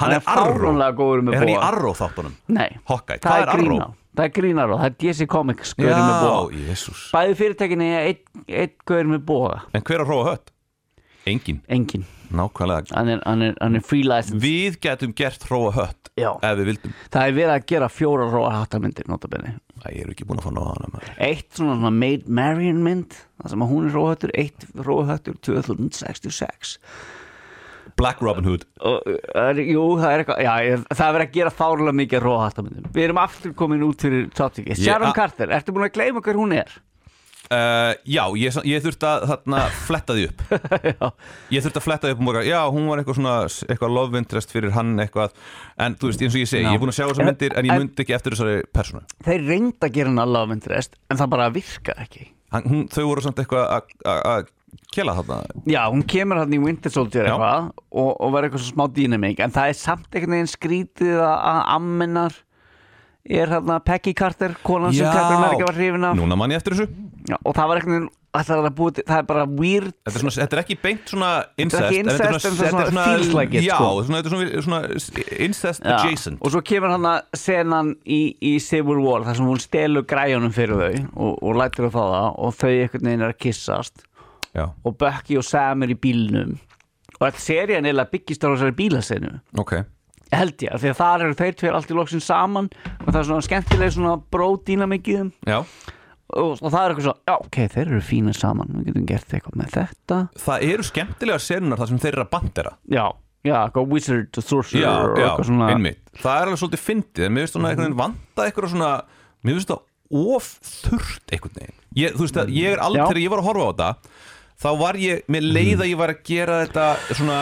Speaker 2: Hann er Arrow
Speaker 3: fáránlega góður með
Speaker 2: Er hann í
Speaker 3: boga
Speaker 2: Arrow þáttunum?
Speaker 3: nei,
Speaker 2: Hawkeye,
Speaker 3: það
Speaker 2: hvað
Speaker 3: er
Speaker 2: er Arrow?
Speaker 3: grína það er grínaró, það er DC Comics
Speaker 2: Já,
Speaker 3: góður með boga
Speaker 2: jésús
Speaker 3: bæði fyrirtækinni er einn ein góður með boga
Speaker 2: En hver er að hróa hött? Engin,
Speaker 3: engin,
Speaker 2: nákvæmlega
Speaker 3: hann er, hann er, hann er free license
Speaker 2: Við getum gert hróa hött
Speaker 3: Já.
Speaker 2: Ef við vildum
Speaker 3: það er verið að gera fjóra róa hattamindir notabenni
Speaker 2: Æ, ég er ekki búin að fá náða hana maður.
Speaker 3: eitt svona, svona Maid Marian mynd það sem að hún er róhöttur, eitt róhöttur 2066
Speaker 2: Black Robin Hood
Speaker 3: og, er, jú, það er eitthvað já, ég, það er verið að gera fárlega mikið róhaldamöndum við erum aftur komin út fyrir tóttíki Sharon
Speaker 2: a-
Speaker 3: Carter, ertu búin að gleyma hver hún er?
Speaker 2: uh, Já, ég, ég þurfti að þarna, fletta því upp
Speaker 3: [LAUGHS] já,
Speaker 2: Ég þurfti að fletta því upp um morgan Já, hún var eitthvað svona eitthvað love interest fyrir hann eitthvað En þú veist, eins og ég segi,
Speaker 3: Já.
Speaker 2: ég er búin að sjá þessar
Speaker 3: En-
Speaker 2: myndir En ég
Speaker 3: en-
Speaker 2: myndi ekki eftir þessari personu
Speaker 3: þeir reynda að gera hann allavega myndrest en það bara virkar ekki
Speaker 2: hann, hún, Þau voru samt eitthvað að- að- að kela þarna
Speaker 3: já, hún kemur hann í Winter Soldier
Speaker 2: Já.
Speaker 3: eitthvað og, og verður eitthvað svo smá dýnamík en það er samt einhvern veginn skrítið að að ammennar er hérna Peggy Carter, konan sem Captain America var hrifin af
Speaker 2: Núna mann ég eftir þessu
Speaker 3: já, og það var einhvern veginn það er, að búið, til- það er bara weird
Speaker 2: Þetta er, svona, þetta er ekki beint svona incest
Speaker 3: Þetta er ekki incest, en það
Speaker 2: þetta er
Speaker 3: svona feels like it,
Speaker 2: Já,
Speaker 3: sko.
Speaker 2: svona, þetta er svona, svona incest
Speaker 3: Já,
Speaker 2: adjacent
Speaker 3: og svo kemur hann að senan í, í Civil War þar sem hún stelur græjunum fyrir þau og, og lætur þau fá það og þau einhvern veginn er að kyssast
Speaker 2: Já,
Speaker 3: og Bucky og Sam er í bílnum og all serían eiginlega byggist á þessari bílasenu
Speaker 2: ok
Speaker 3: held ég, af því að þar eru þeir tveir allt í loksin saman og það er svona skemmtileg svona bródýnamikið
Speaker 2: Já,
Speaker 3: og, og það er eitthvað svona, já ok, þeir eru fína saman við getum gert eitthvað með þetta
Speaker 2: það eru skemmtilega senunar þar sem þeir eru að bandera
Speaker 3: já, já, eitthvað wizard og sorcerer
Speaker 2: Já,
Speaker 3: og
Speaker 2: já,
Speaker 3: eitthvað svona
Speaker 2: einmitt Það er alveg svolítið fyndið, en mér finnst svona einhvern veginn vanda eitthvað svona, mér finnst það of þurrt einhvern veginn ég, Þú veist að ég er aldrei,
Speaker 3: Mm, Já.
Speaker 2: þegar ég var að horfa á þetta þá var ég, með leið að ég var að gera þetta svona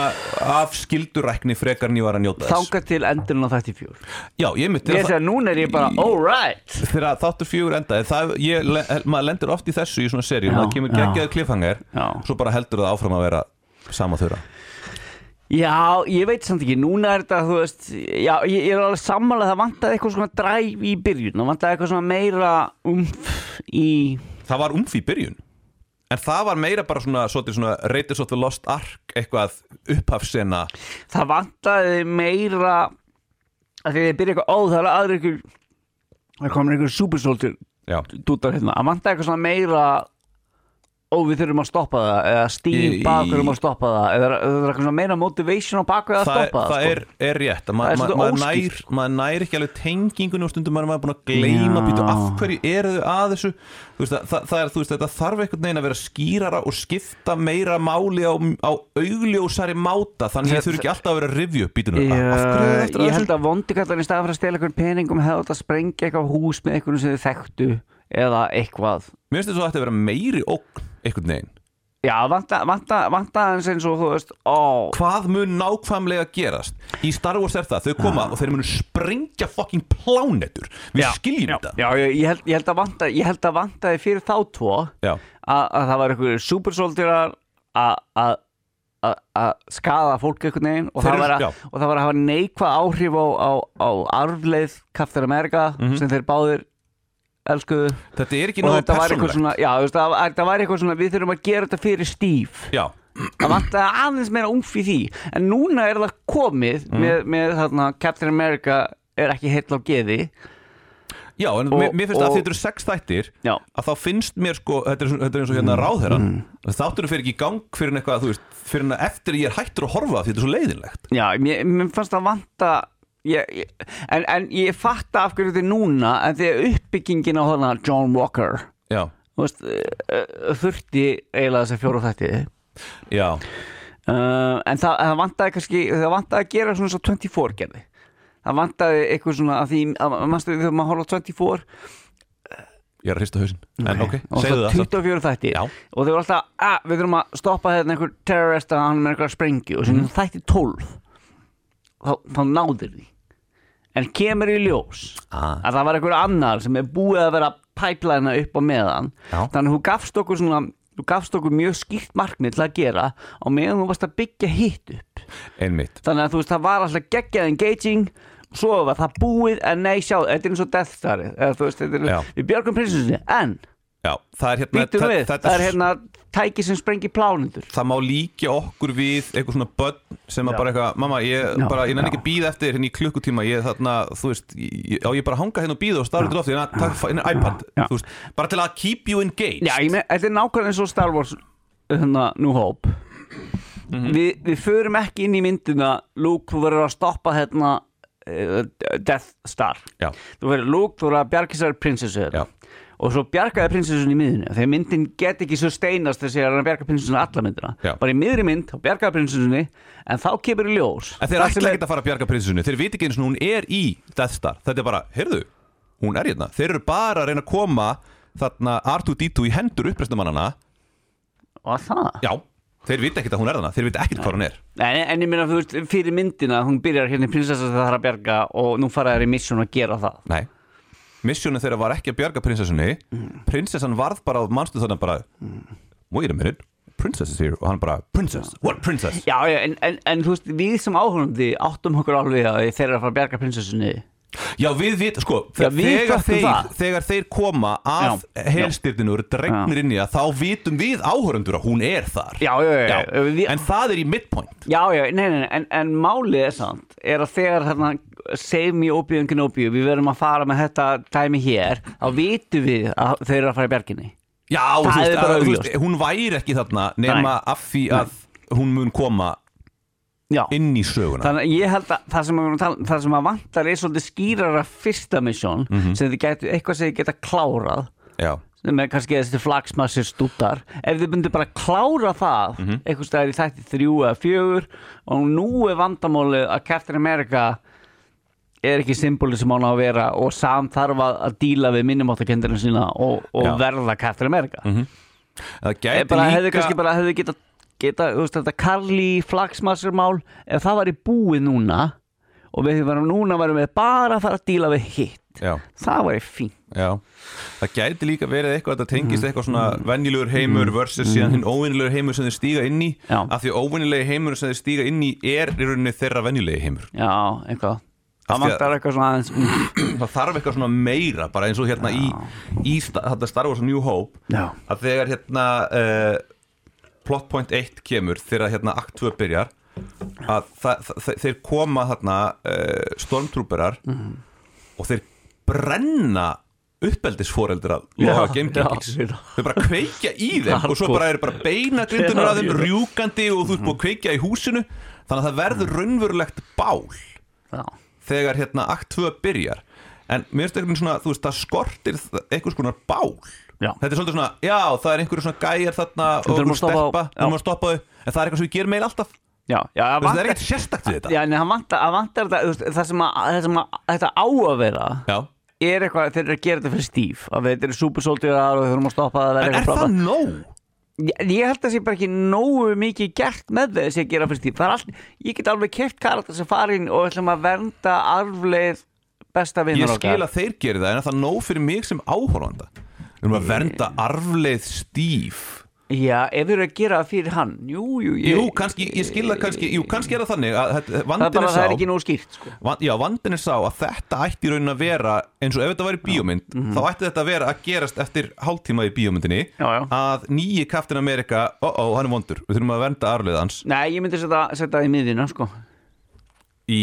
Speaker 2: af skildurækni frekar en ég var að njóta þess
Speaker 3: þangað til endurinn á þetta í fjör
Speaker 2: Já, ég mitt
Speaker 3: ég segi að núna er ég bara, alright
Speaker 2: þegar þáttur fjögur endaði það, ég, maður lendir oft í þessu í svona seri,
Speaker 3: Já,
Speaker 2: maður kemur
Speaker 3: já.
Speaker 2: geggjaður kliffhangar
Speaker 3: Já.
Speaker 2: svo bara heldur það áfram að vera sama þurra
Speaker 3: Já, ég veit samt ekki, núna er þetta, þú veist, já, ég, ég er alveg sammála að það vantaði eitthvað svona dræf í byrjun, það vantaði eitthvað svona meira umf í,
Speaker 2: það var umf í byrjun en það var meira bara svona, svolítið svona Raiders of the Lost Ark, eitthvað upphafsena
Speaker 3: það vantaði meira, að því að ég byrja eitthvað, ó, það er aðri ykkur, það komur ykkur supersoldier
Speaker 2: já,
Speaker 3: dútar hérna, það vantaði eitthvað svona meira, ó, við þurfum að stoppa það, eða stíl
Speaker 2: Í-
Speaker 3: bak þurfum að stoppa það, eða það er eitthvað svona meira motivation á baku að
Speaker 2: það, er,
Speaker 3: stoppa það, sko.
Speaker 2: það er, er rétt að
Speaker 3: Það
Speaker 2: maður ma
Speaker 3: er svolítið
Speaker 2: maður nær,
Speaker 3: óskýrt. sko.
Speaker 2: maður nær ekki alveg tengingunni og stundum maður er maður búin að gleyma
Speaker 3: Já.
Speaker 2: býtu, af hverju eru þau að þessu þú veist, að, það, það er, þú veist, þetta þarf einhvern veginn að vera skýrara og skipta meira máli á, á augljósari máta þannig að þau eru ekki alltaf að vera að rifja upp býtunum af hverju eru
Speaker 3: Já,
Speaker 2: þau eftir
Speaker 3: ég
Speaker 2: að
Speaker 3: held
Speaker 2: þessu
Speaker 3: að vondikallan í staðan fyrir að stela einhvern peningum hefði átt að sprengja eitthvað hús með einhvern sem þið þekktu eða eitthvað
Speaker 2: mér finnst þetta að þetta vera meiri ógn einhvern veginn
Speaker 3: Já, vanta, vanta, vanta hans eins og þú veist ó,
Speaker 2: hvað mun nákvæmlega gerast í Star Wars er það, þau koma og þeir munu sprengja fucking plánetur við skiljum
Speaker 3: Ah. já,
Speaker 2: þetta
Speaker 3: Já, ég, ég, held, ég held að vanta ég held að vantaði fyrir þá tvo að,
Speaker 2: Já.
Speaker 3: að það var einhverjir supersoldirar að að- að að skaða fólk einhvern veginn og,
Speaker 2: Þeir
Speaker 3: það
Speaker 2: eru-
Speaker 3: var að,
Speaker 2: já.
Speaker 3: og það var að hafa neikvað áhrif á, á, á arfleið Captain America
Speaker 2: Mhm.
Speaker 3: sem þeir báðir elskuðu
Speaker 2: þetta er ekki
Speaker 3: og
Speaker 2: náðu
Speaker 3: þetta var eitthvað
Speaker 2: persónulegt
Speaker 3: svona, já, þú veist, það, var- þetta var eitthvað svona við þurfum að gera þetta fyrir stíf
Speaker 2: já,
Speaker 3: það vantaði aðeins meira umf í því en núna er það komið
Speaker 2: Mhm.
Speaker 3: með, með þarna, Captain America er ekki heill á geði
Speaker 2: já, en
Speaker 3: Og-
Speaker 2: mér, mér finnst að
Speaker 3: og-
Speaker 2: þetta eru sex þættir
Speaker 3: já, Mm.
Speaker 2: að þá finnst mér sko, þetta er, svo- þetta er eins og hérna ráðherran þátturum fyrir ekki í gang fyrir en eitthvað, þú veist, fyrir en eftir ég er hættur að horfa af því þetta er svo leiðinlegt
Speaker 3: já mér, mér fannst það vanta ég, ég, en, en ég fatta af hverju þetta er núna en því að uppbyggingin á þarna John Walker
Speaker 2: já,
Speaker 3: þú veist, eh, eh, þurfti eiginlega þessi fjóru þætti
Speaker 2: já,
Speaker 3: uh, en það, það vantaði kannski það vantaði að gera svona svo 24 gerði það vantaði eitthvað svona að því að, manstu, þegar maður horfði á 24
Speaker 2: Ég er að hrista hausinn, en ok,
Speaker 3: og
Speaker 2: segðu
Speaker 3: það
Speaker 2: það samt.
Speaker 3: 24 þætti
Speaker 2: Já.
Speaker 3: og þau voru alltaf, að við þurfum að stoppa þetta einhver terrorista, hann er með einhver sprengi og sem
Speaker 2: Mhm.
Speaker 3: mm. þætti 12 þá, þá náðir því en kemur í ljós
Speaker 2: Ah.
Speaker 3: að það var einhver annar sem er búið að vera pæplana upp á meðan
Speaker 2: Já.
Speaker 3: þannig að hún gafst okkur svona þú gafst okkur mjög skýrt markmið til að gera á meðan þú varst að byggja hitt upp
Speaker 2: Einmitt
Speaker 3: þannig að þú veist það var alltaf geggjað engaging svo var það búið en nei sjá þetta er eins og death starið eða, þú veist, þetta
Speaker 2: Já.
Speaker 3: er, við björgum prinsinsinni en
Speaker 2: Já, það er hérna
Speaker 3: Býtum við,
Speaker 2: þetta-
Speaker 3: það er hérna tæki sem sprengi plánundur
Speaker 2: það má líka okkur við eitthvað svona börn sem að
Speaker 3: Já.
Speaker 2: bara eitthvað mamma, ég,
Speaker 3: Já,
Speaker 2: bara, ég nenni
Speaker 3: já.
Speaker 2: ekki að býða eftir hérna í klukkutíma ég þarna, þú veist, ég, á ég bara að hanga hérna og býða og starra til lofti, hérna, takk, hérna iPad
Speaker 3: Já.
Speaker 2: þú veist, bara til að keep you engaged
Speaker 3: Já, ég með, þetta er nákvæmlega eins og Star Wars hérna, New Hope
Speaker 2: Mhm.
Speaker 3: Vi, Við förum ekki inn í myndina Luke, þú verður að stoppa hérna eh, Death Star
Speaker 2: Já.
Speaker 3: Þú verður Luke, þú verður að bjarga sér prinsessu
Speaker 2: Já.
Speaker 3: hérna. og svo bjargaði prinsessunni í miðinu þegar myndin get ekki sustainast þessi að hann bjarga prinsessunni alla myndina
Speaker 2: Já.
Speaker 3: bara í miðri mynd, þá bjargaði prinsessunni en þá kemur í ljós
Speaker 2: en þeir
Speaker 3: Það sem
Speaker 2: ætla
Speaker 3: er-
Speaker 2: ekki að fara að bjarga prinsessunni þeir viti ekki eins og hún er í Death Star þetta er bara, heyrðu, hún er hérna þeir eru bara að reyna að koma þarna R2-D2 í hendur uppreistamannana
Speaker 3: Og það
Speaker 2: já, þeir viti ekkert að hún er þarna þeir viti ekkert hvað hún er
Speaker 3: En, en ég meina, þú veist, fyrir myndina hún byrjar hérna í prinsessa sem það þarf að bjarga og nú fara þær í missun að gera það
Speaker 2: Nei Missjónu þeirra var ekki að bjarga prinsessunni Prinsessan varð bara, manstu þannig bara Wait a minute, princess is here Og hann bara, princess, what princess?
Speaker 3: Já, já, en, en, en þú veist, við sem áhugandi áttum okkur alveg að þeir eru að fara að bjarga prinsessunni
Speaker 2: Já, við vit, sko
Speaker 3: Já, við
Speaker 2: þegar,
Speaker 3: föttum
Speaker 2: þeir,
Speaker 3: það.
Speaker 2: þegar þeir koma að
Speaker 3: Já.
Speaker 2: helstyrtinu eru dregnir inn í það Þá vitum við áhörundur að hún er þar
Speaker 3: Já, já, já, já, við-
Speaker 2: En það er í midpoint
Speaker 3: Já, já, nei, nei, nei, en, en málið er samt er að þegar þarna save me opium en kenopium, við verum að fara með þetta dæmi hér, þá vitum við að þeir eru að fara í bjarginni
Speaker 2: Já, þú
Speaker 3: Það er bara
Speaker 2: að- þú
Speaker 3: augljóst.
Speaker 2: hún væri ekki þarna Nema af því að hún mun koma
Speaker 3: Já,
Speaker 2: inn í söguna
Speaker 3: þannig að ég held að það sem, að við erum að tala, um, það sem að vantar er svolítið skýrara fyrsta misjón sem þið gætu, eitthvað sem þið geta klárað
Speaker 2: Já,
Speaker 3: sem er kannski þessi flagsmassir stúttar ef þið myndu bara klára það
Speaker 2: Mhm.
Speaker 3: mm einhvers staðar í þætti þrjú eða fjögur og nú er vandamálið að Captain America er ekki symbolið sem hann á að vera og samt þarf að, að díla við minnumáttakendurinn sína og,
Speaker 2: Já.
Speaker 3: og verða Captain America mm -hmm.
Speaker 2: það gæti
Speaker 3: bara
Speaker 2: líka
Speaker 3: hefði kannski bara hefði geta, geta þú veist, þetta Carly flagsmassir mál ef það væri búið núna og við varum núna varum við bara að fara að díla við hitt
Speaker 2: Já.
Speaker 3: það væri fínt
Speaker 2: Já, það gæti líka verið eitthvað að þetta
Speaker 3: Mhm.
Speaker 2: tengist eitthvað svona venjulegur heimur versus síðan hinn óvinnilegur heimur sem þeir stíga inn í
Speaker 3: Já.
Speaker 2: af því óvinnilegi heimur sem þeir stíga inn í er í rauninni þeirra venjulegi heimur
Speaker 3: já, eitthvað það
Speaker 2: Af því að-
Speaker 3: vantar eitthvað svona aðeins mm,
Speaker 2: það þarf eitthvað svona meira bara eins og hérna í, í sta- þetta Star Wars New Hope
Speaker 3: já
Speaker 2: að þegar hérna uh, plot point 1 kemur þegar hérna akt 2 byrjar að þa- þa- þe- þeir koma þarna uh, stormtrooperar
Speaker 3: Mm-hmm.
Speaker 2: og þeir brenna uppeldisforeldra loga
Speaker 3: Já,
Speaker 2: gamegengils
Speaker 3: já, já.
Speaker 2: þau bara kveikja í þeim og svo
Speaker 3: Hardcore.
Speaker 2: bara eru bara beina grindunar að þeim
Speaker 3: Já, já.
Speaker 2: rjúkandi og þú ert búið að kveikja í húsinu þannig að það
Speaker 3: Mm.
Speaker 2: verður raunverulegt bál
Speaker 3: Já,
Speaker 2: þegar hérna akt 2 byrjar en mér finnst einhvern svona, þú veist, það skortir þ- einhvers konar bál
Speaker 3: Já.
Speaker 2: þetta er svolítið svona, já, það er einhverju svona gæjar þarna og
Speaker 3: þurfum að
Speaker 2: einhver
Speaker 3: stoppa á-
Speaker 2: stelpa,
Speaker 3: já.
Speaker 2: þú erum að stoppa þau en það er eitthvað sem við gerum meil alltaf Vist,
Speaker 3: já, já það
Speaker 2: það er
Speaker 3: vantar,
Speaker 2: ekkert sérstakt við þetta
Speaker 3: já, nei, það vantar, það vantar það, veist, það, sem að, það sem að þetta á að vera
Speaker 2: Já.
Speaker 3: er eitthvað þeir eru að gera þetta fyrir stíf að við þetta eru súpersóldjöðar og við þurfum að stoppa það
Speaker 2: en er
Speaker 3: eitthvað
Speaker 2: það nóg?
Speaker 3: ég, ég held að það sé bara ekki nógu mikið gert með þess að gera fyrir stíf Það er all, ég get alveg keft karakter sem farin og ætlum að vernda arfleið besta
Speaker 2: Ég
Speaker 3: vinnar
Speaker 2: skil að þeir gerir það, en er það nóg fyrir mig sem áhorfanda? Við erum að vernda arfleið stíf
Speaker 3: já, ef þeir eru að gera það fyrir hann jú, jú, ég,
Speaker 2: Jú, kannski, ég skil það kannski, jú, kannski er það þannig að þetta-
Speaker 3: það er
Speaker 2: vandinn er
Speaker 3: bara að það er
Speaker 2: sá
Speaker 3: ekki nógu skýrt sko.
Speaker 2: Van- Já, vandinn er sá að þetta ætti í raunin að vera eins og ef þetta væri bíómynd þá ætti þetta að vera að gerast eftir hálftíma í bíómyndinni
Speaker 3: Já, já.
Speaker 2: að nýji Captain America, ó ó, hann er vondur við þurfum að vernda arfleð hans
Speaker 3: nei, ég myndi setja setja það í miðina sko.
Speaker 2: í,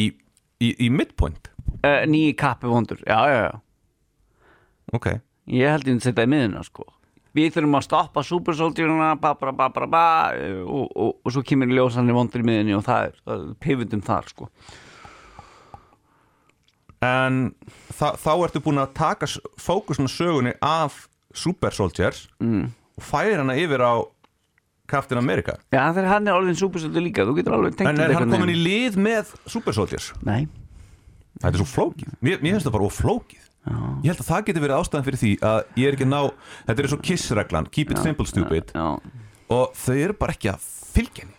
Speaker 2: í, í midpoint
Speaker 3: uh, nýji kappi vondur, já, já, já
Speaker 2: Ok,
Speaker 3: Ég held ég að setja í miðina sko Við þurfum að stoppa supersóldjörnuna ba, ba, ba, ba, ba, og, og, og svo kemur ljósanir vondur í miðinni og það er, það er pivotum þar sko
Speaker 2: en þa þá ertu búin að taka s- fókusinn á sögunni af Super Soldiers mm. og færi hana yfir á Captain America
Speaker 3: Já þegar hann er orðin supersóldur líka þú getur alveg tengt
Speaker 2: En er hann komin í lið með Super Soldiers?
Speaker 3: Nei,
Speaker 2: Þetta er svo flókið, mér, mér finnst það bara of flókið Ég held að það getur verið ástæðan fyrir því að ég er ekki að ná Þetta er svo kissreglan, keep it simple stupid
Speaker 3: já,
Speaker 2: Og þau eru bara ekki að fylgja henni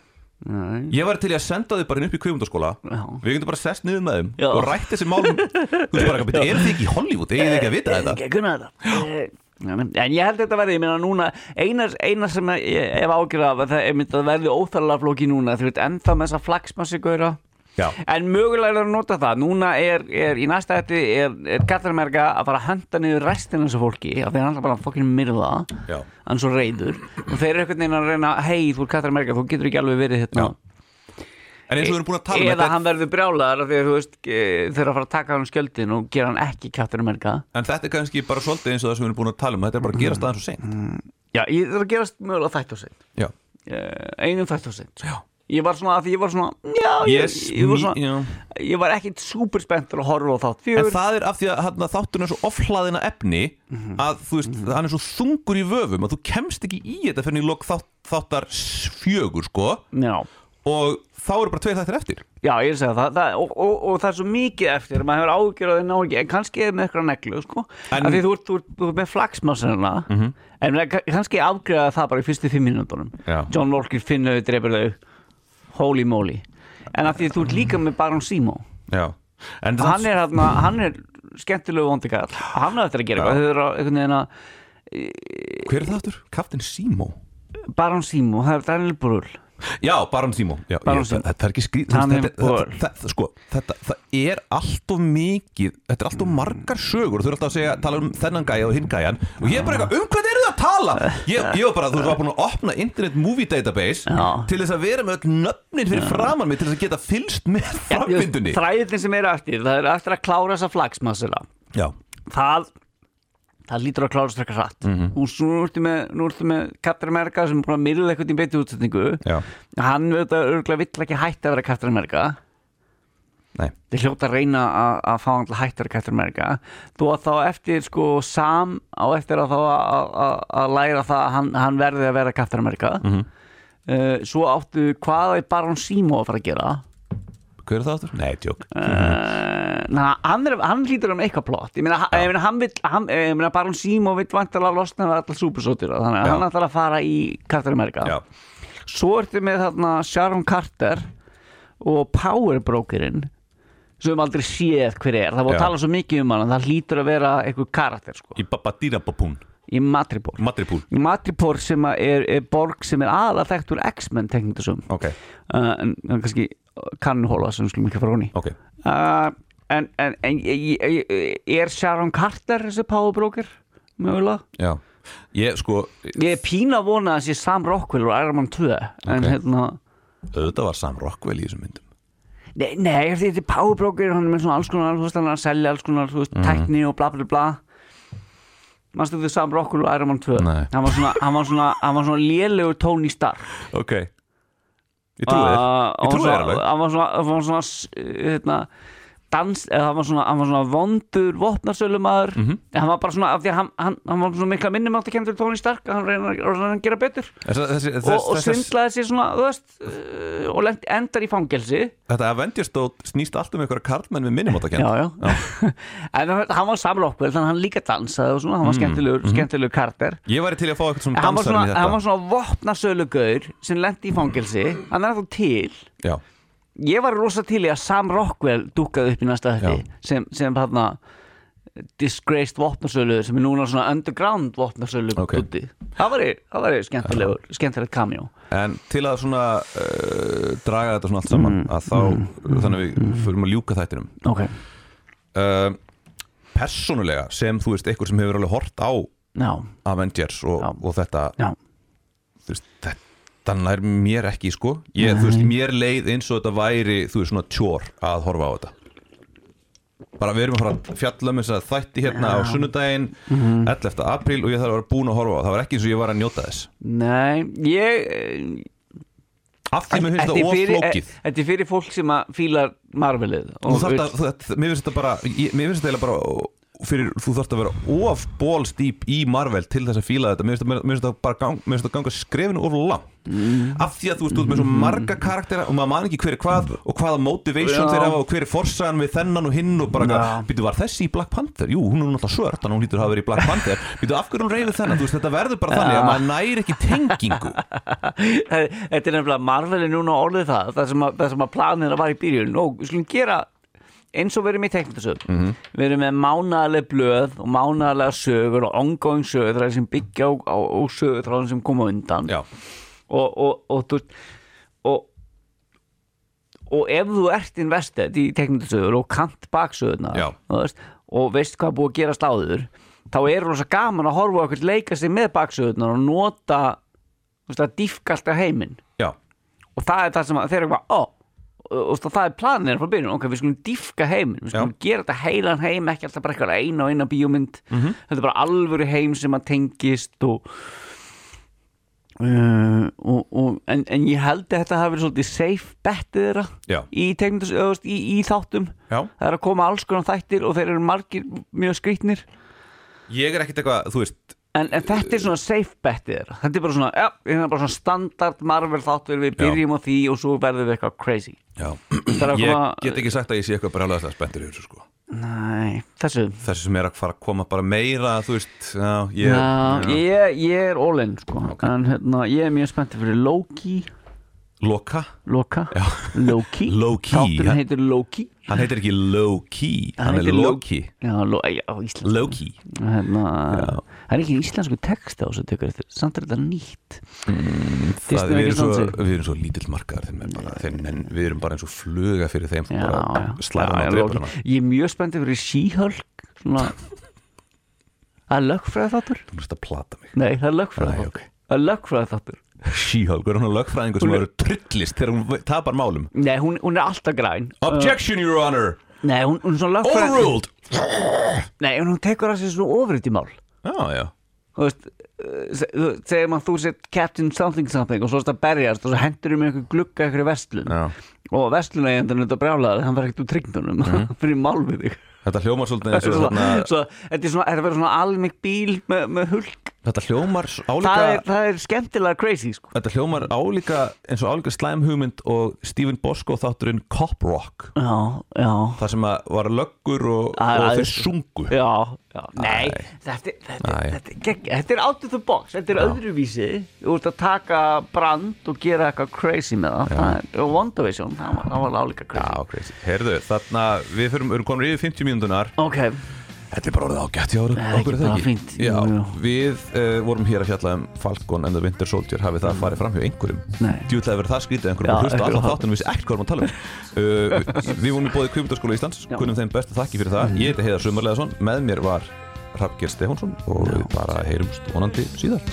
Speaker 3: nei,
Speaker 2: Ég var til í að senda þau bara inn upp í kvifundaskóla
Speaker 3: já.
Speaker 2: Við getum bara sest niður með þeim
Speaker 3: Já.
Speaker 2: Og rætt þessi málum Þú veist bara eitthvað, "Bíddu, eru þið ekki í Hollywood, eigið þið ekki að vita
Speaker 3: Ég
Speaker 2: þetta
Speaker 3: ekki að kunna þetta Eh, já, menn- En ég held þetta verði, ég meina núna Einar, einar sem að ég hef ágjörð af að Það er myndið að verði óþarlega flóki núna Þú veit, ennþá með þessa flagsmassi gauðra
Speaker 2: Já,
Speaker 3: En mögulega er að nota það Núna er, er í næsta eftir er, er Katarmerga að fara að handa niður restin þessu fólki af því hann er bara að fokkin myrða
Speaker 2: Já.
Speaker 3: hann er svo reyður og þeir eru einhvern veginn að reyna hei þú er Katarmerga, þú getur ekki alveg verið hérna
Speaker 2: Já. en eins og við erum búin að tala um
Speaker 3: eða
Speaker 2: þetta
Speaker 3: hann verður brjálaðar af því að þú veist e, þeir eru að fara að taka hann um skjöldin og gera hann ekki Katarmerga
Speaker 2: En þetta er kannski bara svolítið eins og það sem við erum búin að tala um Þetta er bara að gera
Speaker 3: Mm.
Speaker 2: staðan svo seint
Speaker 3: Já, ég þarf að gerast mögulega þætt og seint
Speaker 2: Já,
Speaker 3: Eh, einum þætt og seint
Speaker 2: já
Speaker 3: Ég var svona, af því ég var svona Já, ég,
Speaker 2: Yes,
Speaker 3: ég var
Speaker 2: me-
Speaker 3: svona
Speaker 2: já.
Speaker 3: Ég var ekkit super spenntur að horfa á þátt
Speaker 2: En
Speaker 3: fjögur
Speaker 2: það er af því að hann, þátturinn er svo ofhlaðina efni að þú veist, hann er svo þungur í vöfum að þú kemst ekki í þetta fyrir lók þátt, þáttar s- fjögur sko
Speaker 3: Já,
Speaker 2: og þá eru bara tveir þættir eftir
Speaker 3: já, ég er að segja það, það og, og, og það er svo mikið eftir maður hefur ágjörð að þið ná ekki en kannski er með eitthvað neglu sko
Speaker 2: En- Mhm.
Speaker 3: en, af því þú ert, þú ert, þú ert með flagsmassina en ka- kannski afgreða það bara í fyrstu fimm mínútonum
Speaker 2: Já.
Speaker 3: John Walker finnur þau, drefur þau holy moly en af því þú ert líka með Baron Simo
Speaker 2: Já En
Speaker 3: hann
Speaker 2: það,
Speaker 3: er, hann, hann er skemmtilegu vondikall hann er eftir að
Speaker 2: Já.
Speaker 3: gera eitthvað Þau eru á einhvern veginn að-
Speaker 2: hver er það aftur? Captain Simo
Speaker 3: Baron Simo, það er Daniel Brühl
Speaker 2: Já, Baron Simo já,
Speaker 3: Baron
Speaker 2: ég-
Speaker 3: Simo.
Speaker 2: Þetta er ekki skrýt
Speaker 3: Hann
Speaker 2: þetta,
Speaker 3: er
Speaker 2: þetta, þetta,
Speaker 3: Baron.
Speaker 2: þetta, sko, þetta, það er allt of mikið Þetta er allt of margar sögur og Þau eru alltaf að segja, tala um þennan gæja og hinn gæjan Og ég er bara eitthvað, um hvað eru það að tala? Ég, ég var bara, þú veist, var búin að opna Internet Movie Database
Speaker 3: Já.
Speaker 2: Til þess að vera með öll nöfnin fyrir framan mig Til þess að geta fylst með framvindunni
Speaker 3: þræðin sem er eftir, það er eftir að klára þessa flagsmassila
Speaker 2: Já,
Speaker 3: það það lítur að klára strax hratt mm -hmm. og svo nú ertu með, nú ertu með Captain America sem er búin að myrða eitthvað í beinti útsetningu
Speaker 2: já,
Speaker 3: hann auðvitað örgulega vill ekki hætta að vera Captain America
Speaker 2: nei
Speaker 3: þeir hljóta að reyna að, að fá hann til að hætta að vera Captain America þó að þá eftir sko Sam á eftir að þá að- að, að, að læra það að hann, hann verði að vera Captain America -hmm. svo áttu hvað er Baron Simo að fara að gera
Speaker 2: Hver er það aftur? Nei, tjók
Speaker 3: Uh, na, hann, er, hann lítur um eitthvað plott ég meina, ha- ég meina, hann vill, hann, eh, ég meina Baron Simo vill vantilega losna við allar súpersóttir þannig að
Speaker 2: Já.
Speaker 3: hann ætlar að fara í Captain America
Speaker 2: Já,
Speaker 3: svo ertu með þarna Sharon Carter og Power Brokerinn sem við aldrei séð hver er það voru
Speaker 2: Já.
Speaker 3: að tala svo mikið um hann að það lítur að vera eitthvað karakter sko,
Speaker 2: í Babadinababún
Speaker 3: í Madripoor
Speaker 2: Madribún
Speaker 3: í Madripoor sem að er, er borg sem er aðalega þekkt úr X-Men teknindasum
Speaker 2: Ok,
Speaker 3: uh, en, en kannski kannhóla sem við skulum ekki fara hún í
Speaker 2: ok
Speaker 3: Uh, en, en, en ég- ég- ég- er Sharon Carter þessi power broker mögulega?
Speaker 2: Já Ég, sko,
Speaker 3: Ég er pína að vona að sé Sam Rockwell og Iron Man 2 en
Speaker 2: Ok.
Speaker 3: hérna
Speaker 2: auðvitað var Sam Rockwell í þessum myndum
Speaker 3: Nei, nei því þetta er power broker hann er með svona alls konar, þú veist, hann er að selja alls konar, þú veist,
Speaker 2: Mhm.
Speaker 3: tækni og bla bla bla Manstu þau Sam Rockwell og Iron Man 2
Speaker 2: Nei.
Speaker 3: Hann var svona, hann var svona, hann var svona lélegur Tony Stark
Speaker 2: Ok Ég trúi þér Ég trúi þér alveg
Speaker 3: Ah, hann var svona, hann var svona, s- hérna, dans, eða hann var svona, hann var svona vondur vopnarsölumæður
Speaker 2: Mhm.
Speaker 3: mm hann var bara svona, af því að hann, hann, hann var svona mikla minnum átti kemdur Tony Stark að hann reyna, reyna að gera betur
Speaker 2: Þess, þessi, þess,
Speaker 3: og, og
Speaker 2: þess, þess,
Speaker 3: svindlaði sér svona, þú veist uh, og lent, endar í fangelsi
Speaker 2: Þetta Avengers-dót snýst allt um einhverja karlmenn með minnumáttakend
Speaker 3: já, já, [LAUGHS] en hann- hann var samlokkvel þannig að hann líka dansaði og svona, hann var skemmtilegur, skemmtilegur karakter
Speaker 2: Ég væri til í að fá eitthvað svona
Speaker 3: hann
Speaker 2: Mm.
Speaker 3: var
Speaker 2: Mhm. dansarinn í þetta
Speaker 3: svona, hann var svona vopnarsölugaur sem lendi í fangelsi, hann er þá til
Speaker 2: Já,
Speaker 3: ég var rosa til í að Sam Rockwell dúkaði upp í næsta
Speaker 2: Já.
Speaker 3: þetta sem, sem hérna disgraced vopnarsölu sem er núna svona underground vopnarsölu
Speaker 2: Ok.
Speaker 3: okay. það var, það var skemmtilegur skemmtilegt cameo
Speaker 2: en til að svona uh, draga þetta svona allt saman
Speaker 3: Mm,
Speaker 2: að þá, þannig að við förum að ljúka þættinum
Speaker 3: ok,
Speaker 2: uh, Persónulega sem þú veist, einhver sem hefur alveg hort á
Speaker 3: já,
Speaker 2: Avengers og,
Speaker 3: Já.
Speaker 2: og þetta
Speaker 3: já
Speaker 2: þú veist, þetta nær mér ekki sko ég, þú veist, mér leið eins og þetta væri þú veist, svona tjór að horfa á þetta bara við erum að fara að fjalla með þess að þætti hérna á sunnudaginn 11. apríl og ég þarf að vera búin að horfa á það það var ekki eins og ég var að njóta þess
Speaker 3: nei, ég
Speaker 2: af því mér finnst
Speaker 3: er
Speaker 2: þetta
Speaker 3: fyrir-
Speaker 2: oflókið
Speaker 3: e- þetta er fyrir fólk sem að fílar Marvelið
Speaker 2: mér finnst þetta bara ég- mér finnst þetta bara fyrir, þú þarft að vera of bólstýp í Marvel til þess að fíla þetta mér finnst það- mér finnst það bara gang, mér finnst það ganga skrefinu of langt
Speaker 3: Mm.
Speaker 2: af því að þú veist, þú ert með svo marga karaktera og maður man ekki hver er hvað og hvaða motivation
Speaker 3: Já.
Speaker 2: þeir hafa og hver er forsagan við þennan og hinn og bara,
Speaker 3: Já.
Speaker 2: eitthvað, býtu, var þessi í Black Panther? Jú, hún er náttúrulega svört, þannig að hún lítur að hafa verið í Black
Speaker 3: [LAUGHS]
Speaker 2: Panther býtu, af hverju hún reyfið þennan? Þú veist, þetta verður bara þannig að maður næri ekki tengingu
Speaker 3: [LAUGHS] Þetta er nefnilega Marvel er núna orðið það það sem að, það sem að planina var í byrjun og við skulum gera eins og við erum í teknitasög
Speaker 2: Mhm.
Speaker 3: við erum með mánaðarlega blöð og mánaðarlega sögur og ongoing sögur það sem byggja á, á, á sögur sem koma á undan
Speaker 2: Já,
Speaker 3: og, og, og, þú, veist, og og ef þú ert invested í teknindasögur og kant baksöðuna
Speaker 2: Já.
Speaker 3: veist, og veist hvað er búið að gera stáður þá er rosa gaman að horfa okkur leika sig með baksöðuna og nota þú veist, að dýfka alltaf heiminn
Speaker 2: já,
Speaker 3: og það er það sem að þeir eru eitthvað ó, og og það er planin frá byrjun ok, við skulum dýfka heiminn, við skulum gera þetta heilan heim ekki alltaf bara eitthvað eina og eina bíómynd
Speaker 2: Mhm.
Speaker 3: þetta er bara alvöru heim sem að tengist og, uh, og, og en, en ég held að þetta hafi verið svolítið safe bettið þeirra
Speaker 2: Já.
Speaker 3: í, teiknimyndas- eða, þú veist, í, í þáttum
Speaker 2: já
Speaker 3: það er að koma alls konar þættir og þeir eru margir mjög skrýtnir
Speaker 2: Ég er ekkert eitthvað, þú veist
Speaker 3: En, en þetta er svona safe bettið þeirra Þetta er bara svona, já, þetta er bara svona standard Marvel þáttur við byrjum á því og svo verðum við eitthvað crazy
Speaker 2: Já,
Speaker 3: Það er að
Speaker 2: ég
Speaker 3: koma-
Speaker 2: get ekki sagt að ég sé eitthvað brjálæðislega spenntur yfir þessu sko
Speaker 3: Nei, þessu
Speaker 2: Þessi sem er að fara að koma bara meira, þú veist Já, ég,
Speaker 3: Já, ég, ég er all in sko En hérna, ég er mjög spenntið fyrir Loki
Speaker 2: Loka,
Speaker 3: Loka Loki
Speaker 2: [LAUGHS] Loki,
Speaker 3: Þátturinn
Speaker 2: hann-
Speaker 3: heitir Loki
Speaker 2: hann heitir ekki Loki, hann,
Speaker 3: heitir
Speaker 2: er Loki
Speaker 3: Já, lo, já, á íslensku
Speaker 2: Loki
Speaker 3: hérna, Það er ekki íslensku texti á þessu tekur eftir Samt er þetta nýtt
Speaker 2: Það,
Speaker 3: Disney
Speaker 2: við,
Speaker 3: ekki
Speaker 2: erum svo,
Speaker 3: stansi.
Speaker 2: við erum svo lítill markaðar þeim er bara, þeim, en við erum bara eins og fluga fyrir þeim
Speaker 3: Já,
Speaker 2: bara
Speaker 3: já.
Speaker 2: slæðan
Speaker 3: Já,
Speaker 2: og
Speaker 3: já,
Speaker 2: dreipur
Speaker 3: Loki.
Speaker 2: hana
Speaker 3: Ég er mjög spenntið fyrir She-Hulk Svona Það er lögfræði þáttur
Speaker 2: Þú mérst að plata mig
Speaker 3: Nei, það er lögfræði
Speaker 2: Nei,
Speaker 3: þáttur
Speaker 2: ok.
Speaker 3: Það er lögfræði þáttur
Speaker 2: She-Hulk, er hún að lögfræðingur sem
Speaker 3: Hún er-
Speaker 2: verður trullist þegar hún tapar málum
Speaker 3: Nei, hún, hún er alltaf græn
Speaker 2: Objection, your honor,
Speaker 3: Nei, hún, hún er svona lögfræði
Speaker 2: overruled
Speaker 3: Nei, en hún tekur að sér svona ofrið í mál
Speaker 2: Já, já,
Speaker 3: Þú veist eh, se- þú- segjum að þú sett Captain something something og svo erst að berjast og svo hendur um einhver glugga einhverju vestlun
Speaker 2: já.
Speaker 3: og vestlunægjandinn er þetta brjálaður hann verður ekkert úr tryggdunum mm. [LAUGHS] fyrir mál við þig
Speaker 2: Þetta hljómar svolítið eins
Speaker 3: Þetta er
Speaker 2: og
Speaker 3: svona,
Speaker 2: þarna-
Speaker 3: svo, þetta er svona, þetta verður svona almik bíl með, með hulk
Speaker 2: Þetta hljómar
Speaker 3: það er,
Speaker 2: álíka
Speaker 3: það er skemmtilega crazy sko.
Speaker 2: Þetta hljómar álíka eins og álíka slæm hugmynd og Stephen Bosco þátturinn Cop Rock
Speaker 3: já, já,
Speaker 2: þar sem að var löggur og,
Speaker 3: Æ,
Speaker 2: og
Speaker 3: æ,
Speaker 2: þeir
Speaker 3: sko.
Speaker 2: sungu
Speaker 3: já, já. nei, þetta, þetta,
Speaker 2: Æ.
Speaker 3: þetta, þetta, þetta, þetta er out of the box þetta er öðruvísi þú ert að taka brand og gera eitthvað crazy með það, það er, og WandaVision, það var, það var álíka crazy
Speaker 2: Já, crazy Herðu, þarna við fyrum, erum komin yfir 50 mínúndunar
Speaker 3: ok,
Speaker 2: Þetta er bara orðið ágætt, já,
Speaker 3: er ekki
Speaker 2: okkur er það
Speaker 3: bara
Speaker 2: ekki
Speaker 3: fínt.
Speaker 2: Já,
Speaker 3: Jú, jú.
Speaker 2: við uh, vorum hér að fjalla um Falcon and the Winter Soldier hafið það farið fram hjá einhverjum
Speaker 3: Mm. Nei.
Speaker 2: Djúlega verið það skrítið einhverjum
Speaker 3: Já,
Speaker 2: og hlusta á allan
Speaker 3: einhverjum.
Speaker 2: þáttunum vissi ekkert hvað
Speaker 3: [LAUGHS]
Speaker 2: erum að tala um uh, við, við vorum í bóði Kvimundarskóla Íslands
Speaker 3: Já.
Speaker 2: kunnum þeim bestu þakki fyrir það Ég heiti Heiðar Sumarleðason, með mér var Hrafngeir Stefánsson og við bara heyrumst vonandi síðar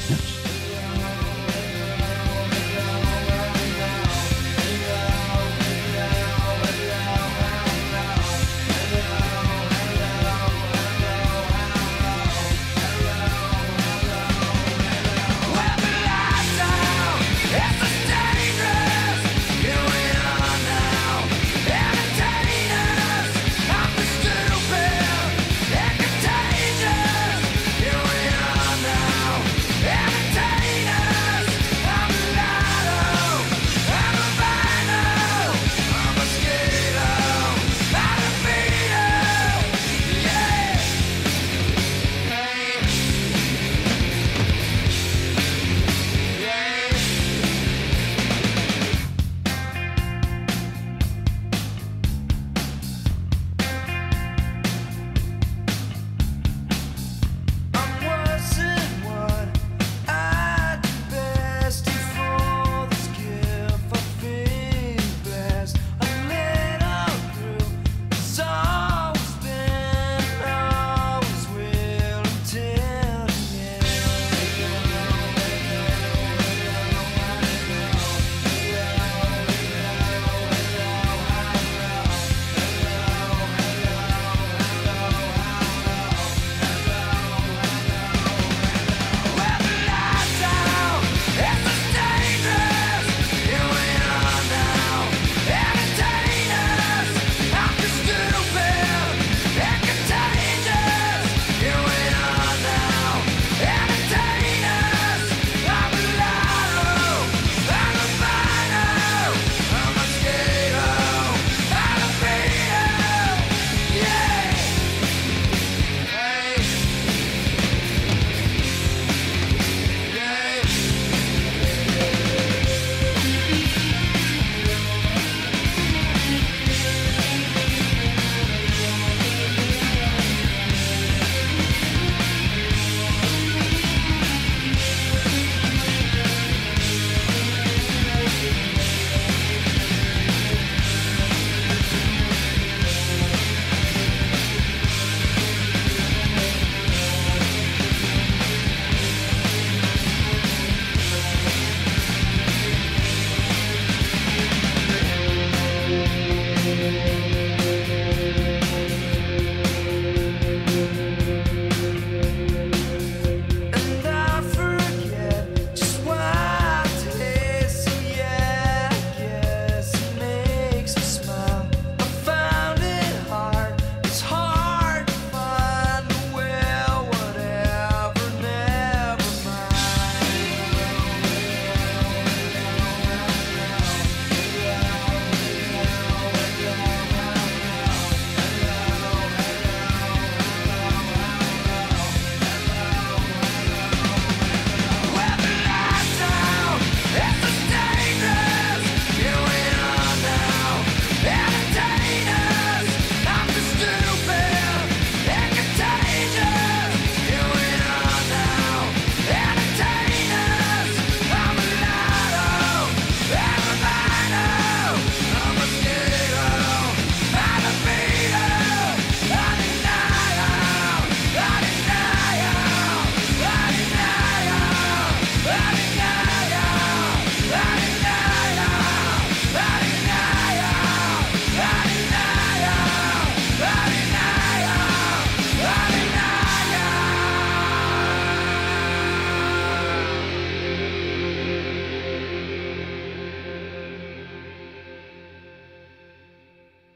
Speaker 4: Here we are now, entertainers.
Speaker 1: Thank you